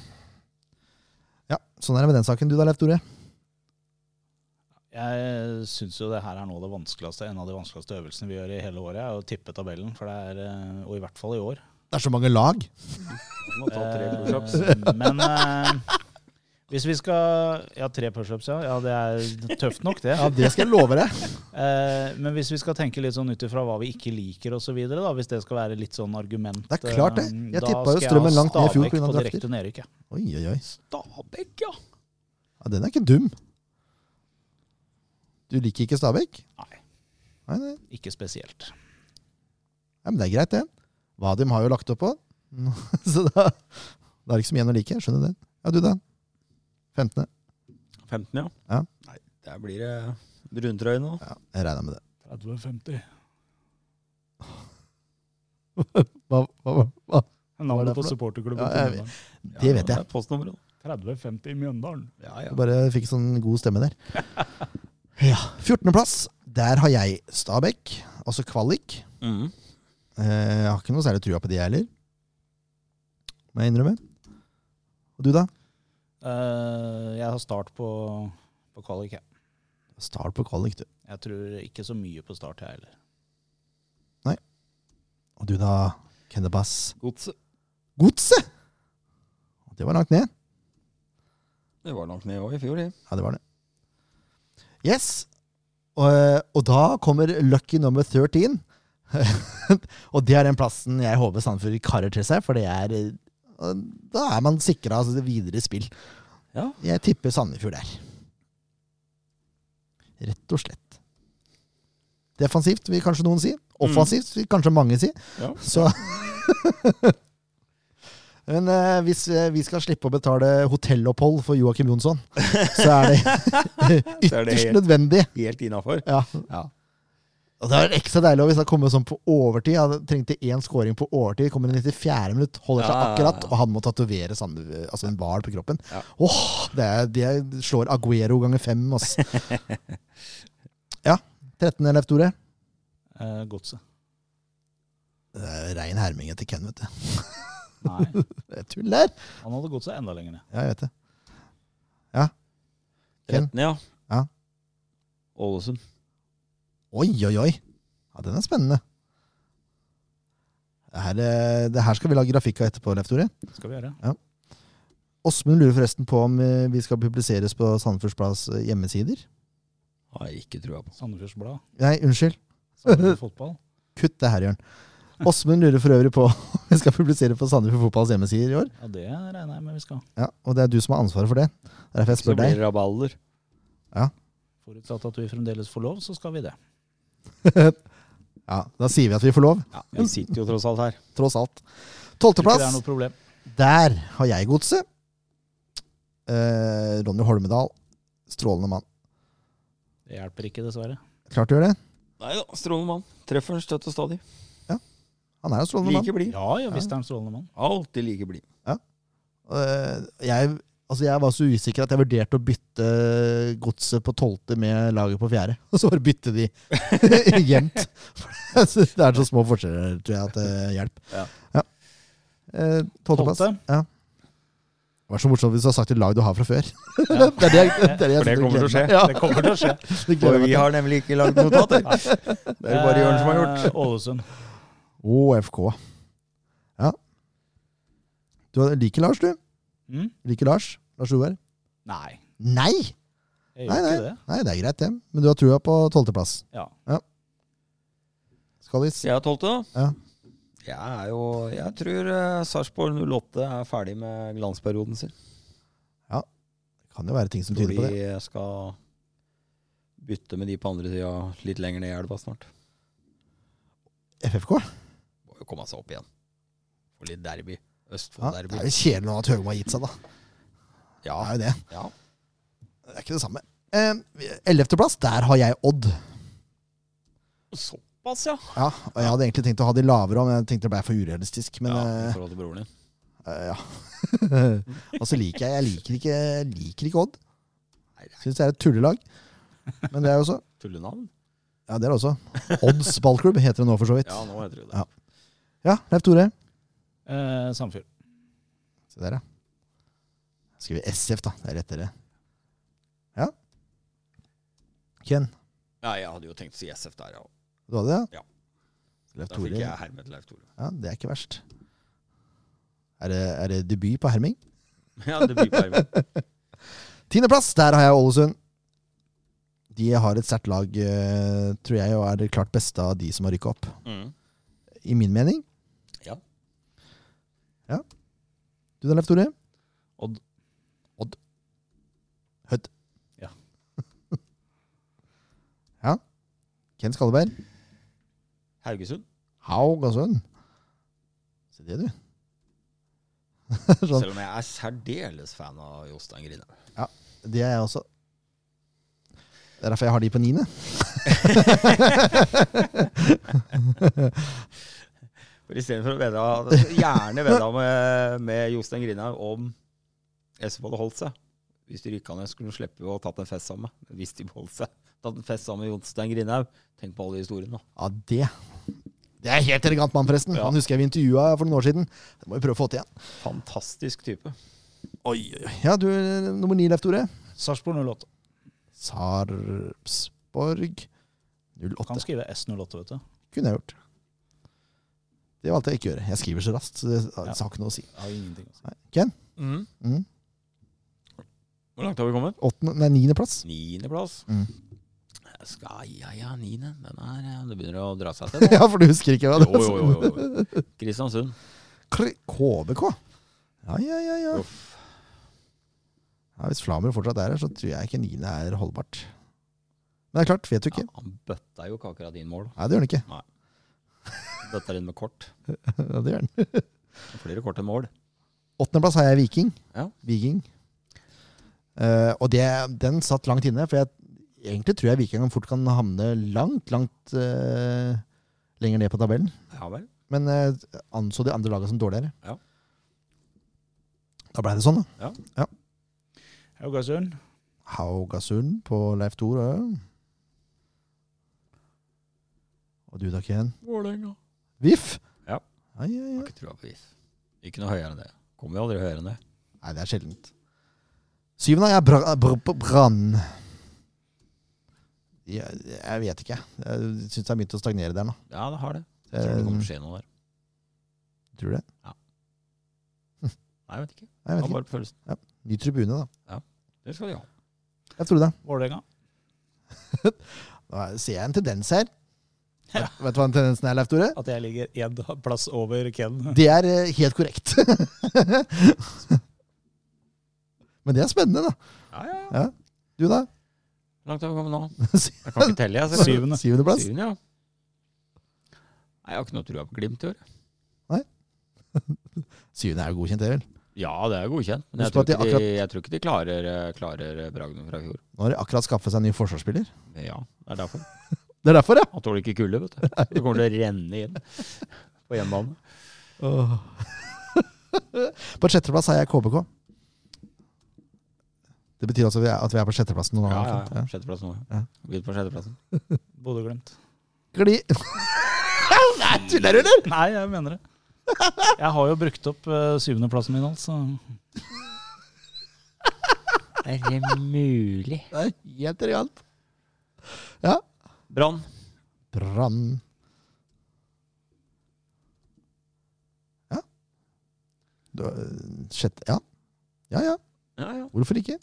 S1: ja. Sånn er det med den saken. Du da, Leif Tore?
S3: Jeg syns jo det her er noe av det vanskeligste, en av de vanskeligste øvelsene vi gjør i hele året, er å tippe tabellen. For det er, eh, og i hvert fall i år.
S1: Det er så mange lag.
S2: Du må ta tre
S3: Eh,
S2: pushups.
S3: Men eh, hvis vi skal Ja, tre pushups, ja. ja. Det er tøft nok, det.
S1: Ja, Det skal jeg love deg.
S3: Eh, men hvis vi skal tenke litt sånn ut ifra hva vi ikke liker osv., hvis det skal være litt sånn argument
S1: Det er klart det.
S3: eh,
S1: Jeg
S3: da
S1: tippet jo
S3: skal jeg
S1: strømmen
S3: ha
S1: langt ned i fjor
S3: Stabæk
S1: på grunn av
S3: på
S1: drafter.
S3: direkte nedrykk, jeg.
S1: Oi, oi, oi.
S2: Stabæk, ja.
S1: Ja, den er ikke dum. Du liker ikke Stabæk?
S3: Nei.
S1: Nei, nei.
S3: Ikke spesielt.
S1: Ja, men det er greit, det. Vadum har jo lagt opp på. Så da, da er det ikke så mye igjen å like. Jeg skjønner det. Ja, du da? 15.
S2: 15, ja.
S1: Ja.
S2: Nei, der blir det bruntrøye nå.
S1: Ja, jeg regna med det.
S3: 30-50.
S1: Hva, hva, hva? Hva er
S3: Navnet
S1: det
S3: på
S1: for noe?
S3: supporterklubben
S1: Ja,
S3: til
S1: jeg
S3: Mjøndalen.
S1: Det vet jeg.
S2: er postnummeret.
S3: 30-50 i Mjøndalen.
S2: Ja, ja.
S1: Bare fikk sånn god stemme der. Ja, 14.-plass. Der har jeg Stabæk, altså kvalik.
S2: Mm.
S1: Eh, Jeg har ikke noe særlig trua på de, jeg heller. Må jeg innrømme. Og du, da?
S3: Eh, jeg har start på, på kvalik, jeg.
S1: Start på kvalik, du.
S3: Jeg tror ikke så mye på start, jeg heller.
S1: Og du, da? Kennebass.
S2: Godset.
S1: Godset! Det var langt ned.
S2: Det var langt ned òg i fjor, det.
S1: Ja, det var det. Yes. Og, eh, og da kommer lucky number 13. og det er den plassen jeg håper Sandefjord karer til seg, for det er eh, Da er man sikra altså, det videre spill.
S2: Ja.
S1: Jeg tipper Sandefjord der. Rett og slett. Defensivt, vil kanskje noen si. Offensivt, vil kanskje mange si.
S2: Mm. Ja.
S1: Så Men eh, hvis eh, vi skal slippe å betale hotellopphold for Joakim Jonsson, så er det
S2: Så er det
S1: ytterst
S2: helt-
S1: nødvendig.
S2: Helt innafor.
S1: Ja.
S2: Ja.
S1: Og det er ekstra deilig hvis han kommer sånn på overtid. Han trengte én scoring på overtid, kommer i 94. minutt, holder seg
S2: Ja, ja, ja.
S1: akkurat, og han må tatovere sand- altså en hval på kroppen.
S2: Ja.
S1: Åh, det, er, det slår Aguero ganger fem, ass. ja. 13. Leif Tore.
S2: Eh,
S3: Uh, Godset.
S1: Det er Rein herming etter Ken, vet du.
S3: Nei,
S1: Det er tull der.
S3: han hadde godset enda lenger ned.
S1: Ja, jeg vet det.
S2: 13, ja.
S1: Ja.
S2: Ålesund.
S1: Oi, oi, oi. Ja, den er spennende. Det her, eh, det her skal vi lage grafikk av etterpå, Leif Tore.
S3: Det skal vi gjøre.
S1: Åsmund lurer forresten på om eh, vi skal publiseres på Sandefjords Plads eh, hjemmesider.
S2: Har jeg ikke trua på.
S3: Sandefjords Blad.
S1: Nei, unnskyld.
S3: Sandefjord Fotball.
S1: Kutt det her, Jørn. Åsmund lurer for øvrig på om vi skal publisere på Sandefjord Fotballs hjemmesider i år.
S3: Ja, det regner jeg med vi skal.
S1: Ja, Og det er du som har ansvaret for det. Det er Derfor jeg
S2: Så
S1: spør
S2: blir
S1: deg.
S2: det rabalder.
S3: Forutsatt at vi fremdeles får lov, så skal vi det.
S1: Ja, Da sier vi at vi får lov,
S2: Vi sitter jo tross alt her.
S1: tross alt.
S3: Ikke det er
S1: Tolvteplass.
S3: noe problem.
S1: Der har jeg godset. Eh, Ronny Holmedal. Strålende mann.
S3: Det hjelper ikke, dessverre.
S1: Klart du gjør det.
S2: Nei da, strålende mann. Treffer den støtt og stadig.
S1: Han er jo en strålende mann.
S2: Like blid.
S3: Ja, ja, visst er han strålende mann.
S2: Alltid like blid.
S1: Eh, jeg, altså jeg var så usikker at jeg vurderte å bytte godset på tolvte med laget på fjerde. Og så bare bytte de jevnt. For det er så små forskjeller, tror jeg, at det hjelper.
S2: Ja.
S1: Ja. Eh, Tolvteplass.
S3: Tolvte.
S1: ja. Det var så morsomt hvis du har sagt et lag du har fra før. det er det, jeg- det, er det, jeg
S2: For
S1: sitter og gleder
S2: det kommer til å
S1: meg.
S2: skje.
S1: Ja,
S3: Det kommer til å skje.
S1: det gleder
S2: For
S1: jeg meg
S2: vi
S1: til.
S2: har nemlig ikke lagd notater. Det er det bare Jørn som har gjort.
S3: Eh, Ålesund.
S1: OFK. Ja. Du liker Lars, du.
S3: Mm?
S1: Liker Lars. Lars Roar.
S3: Nei,
S1: Nei!
S3: jeg
S1: Nei,
S3: gjør ikke det.
S1: Nei, det er greit, det. Men du har trua på tolvteplass.
S3: Ja.
S1: Skallis.
S2: Jeg er tolvte, da.
S1: Ja.
S2: Jeg er jo Jeg tror eh, Sarpsborg 08 er ferdig med glansperioden sin.
S1: Kan jo være ting som
S2: Tror
S1: tyder på det.
S2: de skal bytte med de på andre sida litt lenger ned i elva snart.
S1: FFK?
S2: Må jo komme seg opp igjen. Få litt derby.
S1: Ja, det er
S2: Østfold-derby.
S1: jo kjedelig nå at Høgmo har gitt seg, da.
S2: Ja,
S1: Det er jo det.
S2: ja.
S1: Det er ikke det samme. Ellevteplass, der har jeg Odd.
S2: Såpass, ja.
S1: Ja, og Jeg hadde egentlig tenkt å ha de lavere òg, men jeg tenkte det ble for urealistisk. Men
S2: ja I
S1: eh,
S2: forhold til broren din.
S1: eh, ja. og så liker jeg Jeg liker ikke, jeg liker ikke Odd.
S2: Nei, det
S1: Syns det er et tullelag. Men det er jo så.
S2: er tullenavn.
S1: Ja, det er det også. Odds ballklubb heter det nå, for så vidt.
S2: Ja, nå heter det det.
S1: Ja. Ja, Leif Tore.
S3: Eh, Sandfjord.
S1: Se der, ja. Skriver SF, da. Det er lettere. Ja. Ken,
S2: Nei, jeg hadde jo tenkt å si SF der, ja.
S1: du hadde det?
S2: Ja.
S1: Leif
S2: Da fikk
S1: Tore.
S2: jeg hermet Leif Tore.
S1: Ja, det er ikke verst. Er det, er det debut på Herming?
S2: Ja, det blir på hermet.
S1: Tiendeplass, der har jeg Ålesund. De har et sterkt lag, eh, tror jeg, og er det klart beste av de som har rykka opp.
S2: Mm.
S1: I min mening.
S2: Ja.
S1: Ja. Du da, Leif Tore?
S3: Odd.
S1: Odd. Hødd.
S3: Ja.
S1: ja. Ken Skalleberg.
S2: Haugesund.
S1: Haug og Sund. Se det, du. sånn.
S2: Selv om jeg er særdeles fan av Jostein Grine.
S1: Det er jeg også. Det er derfor jeg har de på niende.
S2: For istedenfor å vedda Gjerne vedda med, med Jostein Grinhaug om SF hadde holdt seg. Hvis de rykka ned, skulle de slippe å ha tatt en fest sammen. Men Hvis de beholdt seg. Tatt en fest sammen med Jostein Grinhaug. Tenk på alle de historiene, da.
S1: Ja, det Det er en helt elegant mann, forresten.
S2: Ja.
S1: Han husker jeg vi intervjua for noen år siden. Det må vi prøve å få til igjen.
S2: Fantastisk type.
S1: Ja, du, nummer ni, Leif Tore.
S3: Sarpsborg 08.
S1: Sarpsborg 08.
S3: Kan skrive S08, vet du.
S1: Kunne jeg gjort. Det valgte jeg ikke å gjøre. Jeg skriver så raskt, så det det
S3: Ja.
S1: har ikke noe å si.
S3: Jeg har ingenting å si.
S1: Nei. Ken? Mm.
S2: Hvor langt har vi kommet?
S1: Åttende, nei, niendeplass.
S2: Niendeplass.
S1: Mm.
S2: Skal ja, ja, niende. Den er eh, Det begynner å dra seg til. nå.
S1: ja, for du husker ikke hva det
S2: Jo, jo, jo, jo, jo. Kristiansund.
S1: Kr- KBK. Ja, ja, ja. ja. ja hvis Flamer fortsatt er her, så tror jeg ikke niende er holdbart. Men det er klart, vet du
S2: Ja,
S1: ikke.
S2: han bøtta jo ikke akkurat inn mål.
S1: Nei, det gjør han ikke.
S2: Bøtta inn med kort.
S1: Ja, det gjør han.
S2: Flere kort enn mål.
S1: Åttendeplass har jeg Viking.
S2: Ja.
S1: Viking. Eh, og det, den satt langt inne, for jeg egentlig tror jeg Viking fort kan havne langt, langt eh, lenger ned på tabellen.
S2: Ja vel.
S1: Men eh, anså de andre lagene som dårligere.
S2: Ja.
S1: Da blei det sånn, da.
S3: Haugasund.
S1: Haugasund på Leif Tor. og- Og du da, Ken?
S2: Vålerenga.
S1: VIF?
S2: Ja.
S1: Ai, ai, ai.
S2: Har ikke trua på VIF. Ikke noe høyere enn det. Kommer jo aldri høyere enn det.
S1: Nei, det er sjeldent. Syvende er br br br Brann. Jeg, jeg vet ikke. Jeg syns det har begynt å stagnere der nå.
S2: Ja, det har det. Jeg tror det kommer
S1: Eh,
S2: til å skje noe der.
S1: tror du det?
S2: Nei, jeg vet ikke.
S1: Nei, jeg
S2: Jeg
S1: vet
S2: har
S1: ikke.
S2: bare følelsen.
S1: Ny tribune, da.
S2: Det skal de ha.
S1: Jeg tror det.
S3: Vålerenga.
S1: Nå ser jeg en tendens her. Vet du hva den tendensen er, Leif Tore?
S3: At jeg ligger én plass over Ken.
S1: Det er eh, helt korrekt. Men det er spennende, da.
S2: Ja, ja, ja.
S1: Du, da?
S2: Hvor langt har vi kommet nå? Jeg kan ikke telle, jeg. selvfølgelig.
S3: Syvende.
S1: Syvendeplass?
S2: Syvende, ja. Nei, jeg har ikke noe trua på Glimt i år.
S1: Syvende er jo godkjent, det vel?
S2: Ja, det er godkjent. Men jeg
S1: Husk på
S2: tror,
S1: at de
S2: ikke de, jeg tror ikke de klarer, eh, klarer bragden fra i fjor.
S1: Nå har de akkurat skaffet seg en ny forsvarsspiller.
S2: Men ja, det er derfor.
S1: Det er derfor, ja!
S2: Han tåler ikke kulde, vet du. Så kommer det å renne inn på hjemmebane.
S1: på sjetteplass har jeg KBK. Det betyr altså at vi er- at vi er på sjetteplass nå.
S2: Ja, ja,
S1: Ja.
S2: ja. Sjetteplass nå.
S1: Ja.
S2: Ja. Begynn på sjetteplassen.
S3: Bodø-Glimt.
S1: Gli... Nei, tuller du, eller?
S3: Nei, jeg mener det. Jeg har jo brukt opp eh, syvendeplassen min, altså.
S2: Er det mulig?
S1: Det er helt realt.
S2: Brann.
S1: Brann. Ja. Du, øh, sjette Ja. Ja, ja.
S2: Ja, ja.
S1: Hvorfor ikke?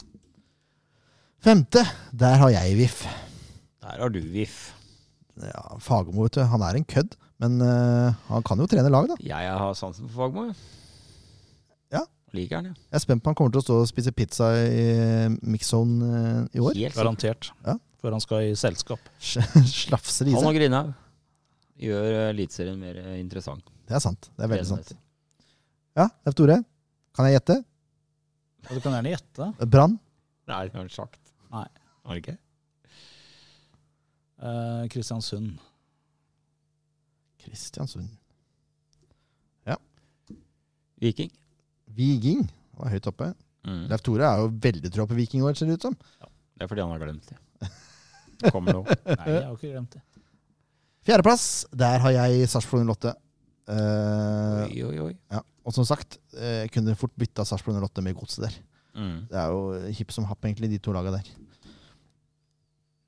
S1: Femte, der har jeg VIF.
S2: Der har du VIF.
S1: Ja, Fagermo, vet du. Han er en kødd, men øh, han kan jo trene lag, da.
S2: Jeg har sansen for Fagmo, jeg.
S1: Ja.
S2: Liker han, ja.
S1: Jeg er spent på han kommer til å stå og spise pizza i eh, mixzone øh, i år.
S2: Helt sikkert.
S3: Garantert.
S1: Ja.
S3: Før han skal i selskap.
S1: Slafser i
S2: Han
S1: seg.
S2: og Grindhaug gjør eh, Eliteserien mer eh, interessant.
S1: Det er sant. Det er veldig sant.
S2: treningsmessig.
S1: Ja, Leif Tore. Kan jeg gjette?
S3: Og du kan gjerne gjette.
S1: Brann.
S2: Nei, det har han sagt.
S3: Nei.
S2: Har han ikke?
S3: Eh, Kristiansund.
S1: Kristiansund.
S2: Viking.
S1: Viking var høyt oppe.
S2: Mm.
S1: Leif Tore er jo veldig trua på Viking i år, ser det ut som.
S2: Det er fordi han har glemt det. Kommer nå.
S3: Nei, jeg har ikke glemt det.
S1: Fjerdeplass, der har jeg Sarpsborg 08. Eh,
S2: Oi, oi, oi.
S1: ja. Og som sagt, eh, jeg kunne fort bytta Sarpsborg 08 med godset der.
S2: Mm.
S1: Det er jo eh, hipp som happ, egentlig, de to laga der.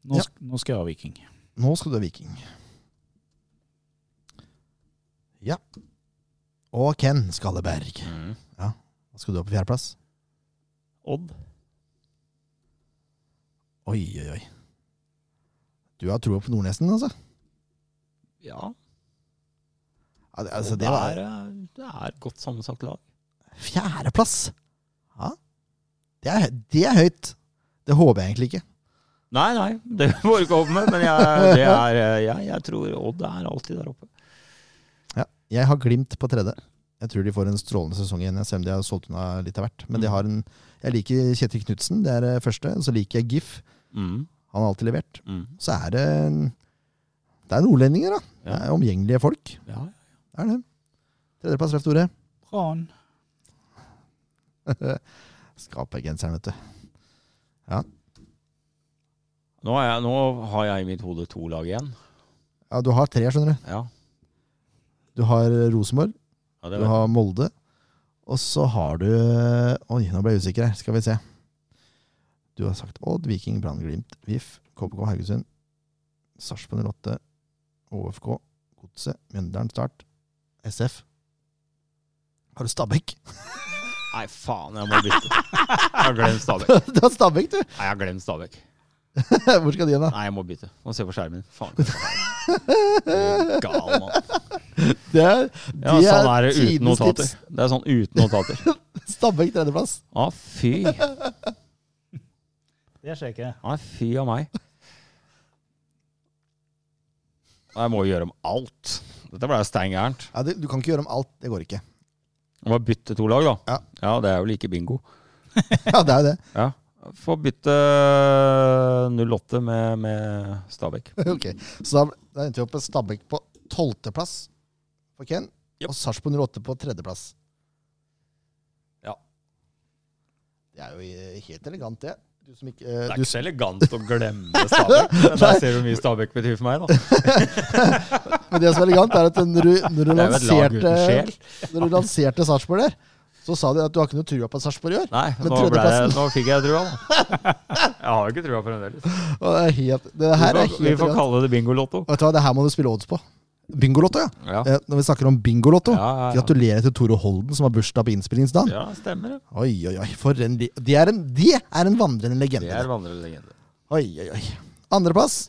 S3: Nå,
S1: Ja.
S3: sk- nå skal jeg ha Viking.
S1: Nå skal du ha Viking. Ja. Og Ken Skalleberg.
S2: Mm.
S1: Hva skal du ha på fjerdeplass?
S2: Odd.
S1: Oi, oi, oi. Du har troa på Nordnesen, altså?
S2: Ja.
S1: Ja, det- altså
S2: Odd
S1: det var
S2: er, eh, det er et godt sammensatt lag.
S1: Fjerdeplass! Ja. Det er, hø- det er høyt. Det håper jeg egentlig ikke.
S2: Nei, nei, det må du ikke håpe med, men jeg, det er, eh, jeg, jeg tror Odd er alltid der oppe.
S1: Ja. Jeg har Glimt på tredje. Jeg tror de får en strålende sesong igjen, selv om de har solgt unna litt av hvert. Men de har en Jeg liker Kjetil Knutsen, det er det første. Og så liker jeg GIF.
S2: Mm.
S1: Han har alltid levert.
S2: Mm.
S1: Så er det en, Det er nordlendinger, da. Det
S2: Ja.
S1: er omgjengelige folk.
S2: Ja.
S1: Det er det. Tredjeplass, Leif Tore.
S3: Brann.
S1: Skapergenseren, vet du.
S2: Nå, er jeg, nå har jeg i mitt hode to lag igjen.
S1: Ja, du har tre, skjønner du.
S2: Ja,
S1: Du har Rosenborg.
S2: ja det
S1: Du
S2: vet jeg.
S1: har Molde. Og så har du Oi, nå ble jeg usikker her. Skal vi se. Du har sagt Odd, Viking, Brann, Glimt, VIF, KBK, Haugesund, Sarpsborg 08, OFK, Godset, Mjøndalen, Start, SF. Har du Stabæk?
S2: Nei, faen, jeg må bytte. Jeg har glemt Stabæk.
S1: du har Stabæk, du!
S2: Nei, jeg har glemt Stabæk.
S1: Hvor skal de hen, da?
S2: Nei, jeg må bytte. Må se på skjermen. Faen. hva er det? Du er Gal, mann.
S1: Det er,
S2: Ja,
S1: de
S2: sånn er
S1: er
S2: det uten
S1: tidens
S2: notater.
S1: tips.
S2: Det er sånn uten notater.
S1: Stabæk tredjeplass.
S2: Å, fy. Å,
S3: Det skjer ikke.
S2: fy av meg. Jeg må jo gjøre om alt. Dette ble jo stein gærent.
S1: Ja, det, du kan ikke gjøre om alt. Det går ikke.
S2: Jeg Må bytte to lag, da.
S1: Ja.
S2: det er jo like bingo.
S1: Ja, det er jo det.
S2: Ja. Få bytte 08 eh, med, med Stabæk.
S1: Ok, Så da, da endte vi opp med Stabæk på tolvteplass for Ken,
S2: Yep.
S1: og Sarpsborg 08 på tredjeplass.
S2: Ja.
S1: Det er jo eh, helt elegant, det. Du som ikke,
S2: Det
S1: eh,
S2: er
S1: du,
S2: ikke så elegant å glemme Stabæk. Men der ser du hvor mye Stabæk betyr for meg, da.
S1: men det som er elegant, er at når du, når du
S2: Det er jo et lag
S1: lanserte,
S2: uten sjel.
S1: når du lanserte Sarpsborg der, så sa de at du har ikke noe trua på at Sarpsborg i år.
S2: Nei,
S1: Men
S2: nå, ble jeg,
S1: tredjeplassen-
S2: nå fikk jeg trua, da. Jeg har jo ikke trua fremdeles.
S1: Og det, er helt, det her er
S2: Vi får,
S1: helt
S2: vi får
S1: elegant.
S2: kalle det bingolotto.
S1: Vet du hva, det her må du spille odds på. Bingolotto, ja.
S2: Ja.
S1: Eh, Når vi snakker om bingolotto,
S2: Ja, ja, ja.
S1: gratulerer til Tore Holden, som har bursdag på innspillingsdagen.
S2: ja, stemmer det.
S1: Oi, oi, oi. For en, li- det, er en, det er en vandrende legende.
S2: Det er vandrelegende.
S1: Oi, oi, oi. Andreplass.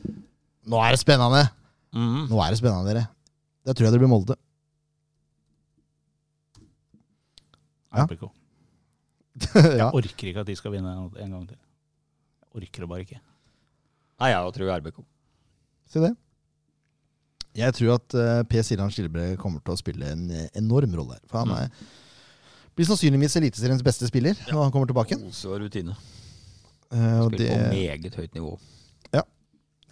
S1: Nå er det spennende.
S2: Mm.
S1: Nå er det spennende, dere. Da tror jeg det blir Molde. Ja.
S3: RBK.
S1: ja.
S3: Orker ikke at de skal vinne en- en gang til. Jeg Orker det bare ikke.
S2: Nei, jeg har trua RBK.
S1: Si det.
S2: Mm.
S1: Jeg tror at eh, Per Siljan Skilbre kommer til å spille en eh, enorm rolle her. For han er, Blir sannsynligvis Eliteseriens beste spiller når han kommer tilbake. igjen.
S2: Ose og rutine.
S1: Eh, og
S2: Spiller
S1: det,
S2: på meget høyt nivå.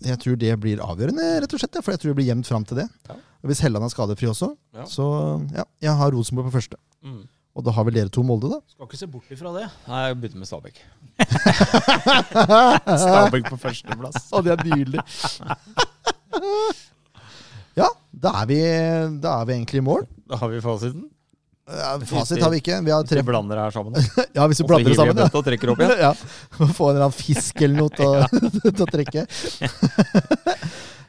S1: jeg tror det blir avgjørende, rett og slett. ja, For jeg tror det blir jevnt fram til det.
S2: Ja.
S1: Og Hvis Helland er skadefri også,
S2: Ja.
S1: så ja. Jeg har Rosenborg på første.
S2: Mm.
S1: Og da har vel dere to Molde, da?
S3: Skal ikke se bort ifra det.
S2: Nei, jeg bytter med Stabæk.
S1: Stabæk på førsteplass. Og det er nydelig. ja, da er, vi, da er vi egentlig i mål.
S2: Da har vi fasiten.
S1: Ja, Fasit har vi ikke. Vi har
S2: Tre
S1: tre
S2: blander her sammen. Og
S1: Ja, hvis vi
S2: så
S1: blander det
S2: hiver jeg
S1: sammen.
S2: bøtta og trekker opp
S1: Ja.
S2: igjen.
S1: Ja. Få en eller annen fisk eller noe til å, til å trekke.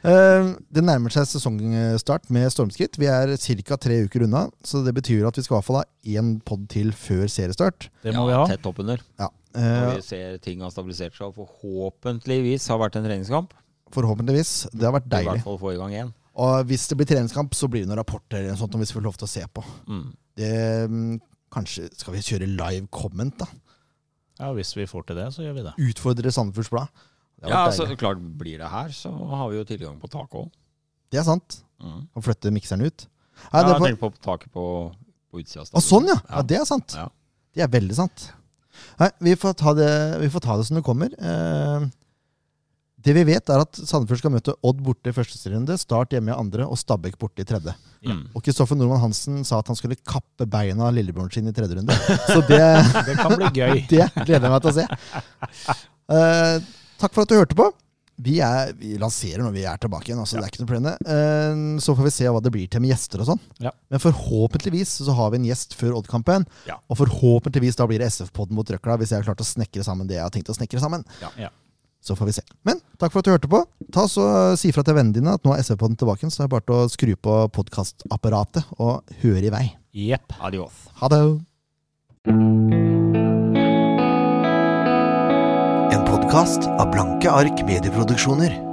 S1: Eh, Det nærmer seg sesongstart med stormskritt. Vi er ca. tre uker unna, så det betyr at vi skal i hvert fall ha én pod til før seriestart.
S3: Det må
S2: ja,
S3: vi ha.
S2: Tett oppunder.
S1: Ja.
S2: Når
S1: eh,
S2: vi ser ting har stabilisert seg og forhåpentligvis har vært en treningskamp.
S1: Forhåpentligvis. Det har vært
S2: I
S1: deilig.
S2: hvert fall få i gang én.
S1: Og hvis det blir treningskamp, så blir det noen rapporter eller noe sånt om hvis vi får lov til å se på.
S2: Mm.
S1: Det, mm, kanskje skal vi kjøre live comment, da?
S3: Ja, Hvis vi får til det, så gjør vi det.
S1: Utfordre Sandefjords Blad. Det,
S2: Ja,
S1: har vært
S2: så
S1: deilig.
S2: klart blir det her, så har vi jo tilgang på taket òg.
S1: det er sant.
S2: Mm.
S1: Å flytte mikseren ut. Nei,
S2: Ja,
S1: det
S2: jeg
S1: får-
S2: tenker på taket på, på utsida. av
S1: Å,
S2: stadion.
S1: sånn, ja. ja! Det er sant.
S2: Ja.
S1: Det er veldig sant. Nei, vi får ta det, vi får ta det som det kommer. Eh, det vi vet, er at Sandefjord skal møte Odd borte i første serierunde, Start hjemme i andre og Stabæk borte i tredje.
S2: Mm.
S1: Og Kristoffer Nordmann Hansen sa at han skulle kappe beina av lillebroren sin i tredje runde. Så det,
S3: Det kan bli gøy.
S1: det gleder jeg meg til å se. Eh, takk for at du hørte på. Vi, er, vi lanserer når vi er tilbake igjen. Altså, Det er ikke noe problem. det. Eh, så får vi se hva det blir til med gjester og sånn.
S3: Ja.
S1: Men forhåpentligvis så har vi en gjest før Odd-kampen.
S2: Ja.
S1: Og forhåpentligvis da blir det SF-podden mot Røkla, hvis jeg har klart å snekre sammen det jeg har tenkt å snekre sammen.
S2: Ja.
S3: Ja.
S1: Så får vi se. Men takk for at du hørte på. Ta så eh, Si fra til vennene dine at nå er SF-podden tilbake, så er det bare til å skru på podkastapparatet og høre i vei.
S3: Jepp.
S2: Adios.
S1: Ha det! En podkast av Blanke ark medieproduksjoner.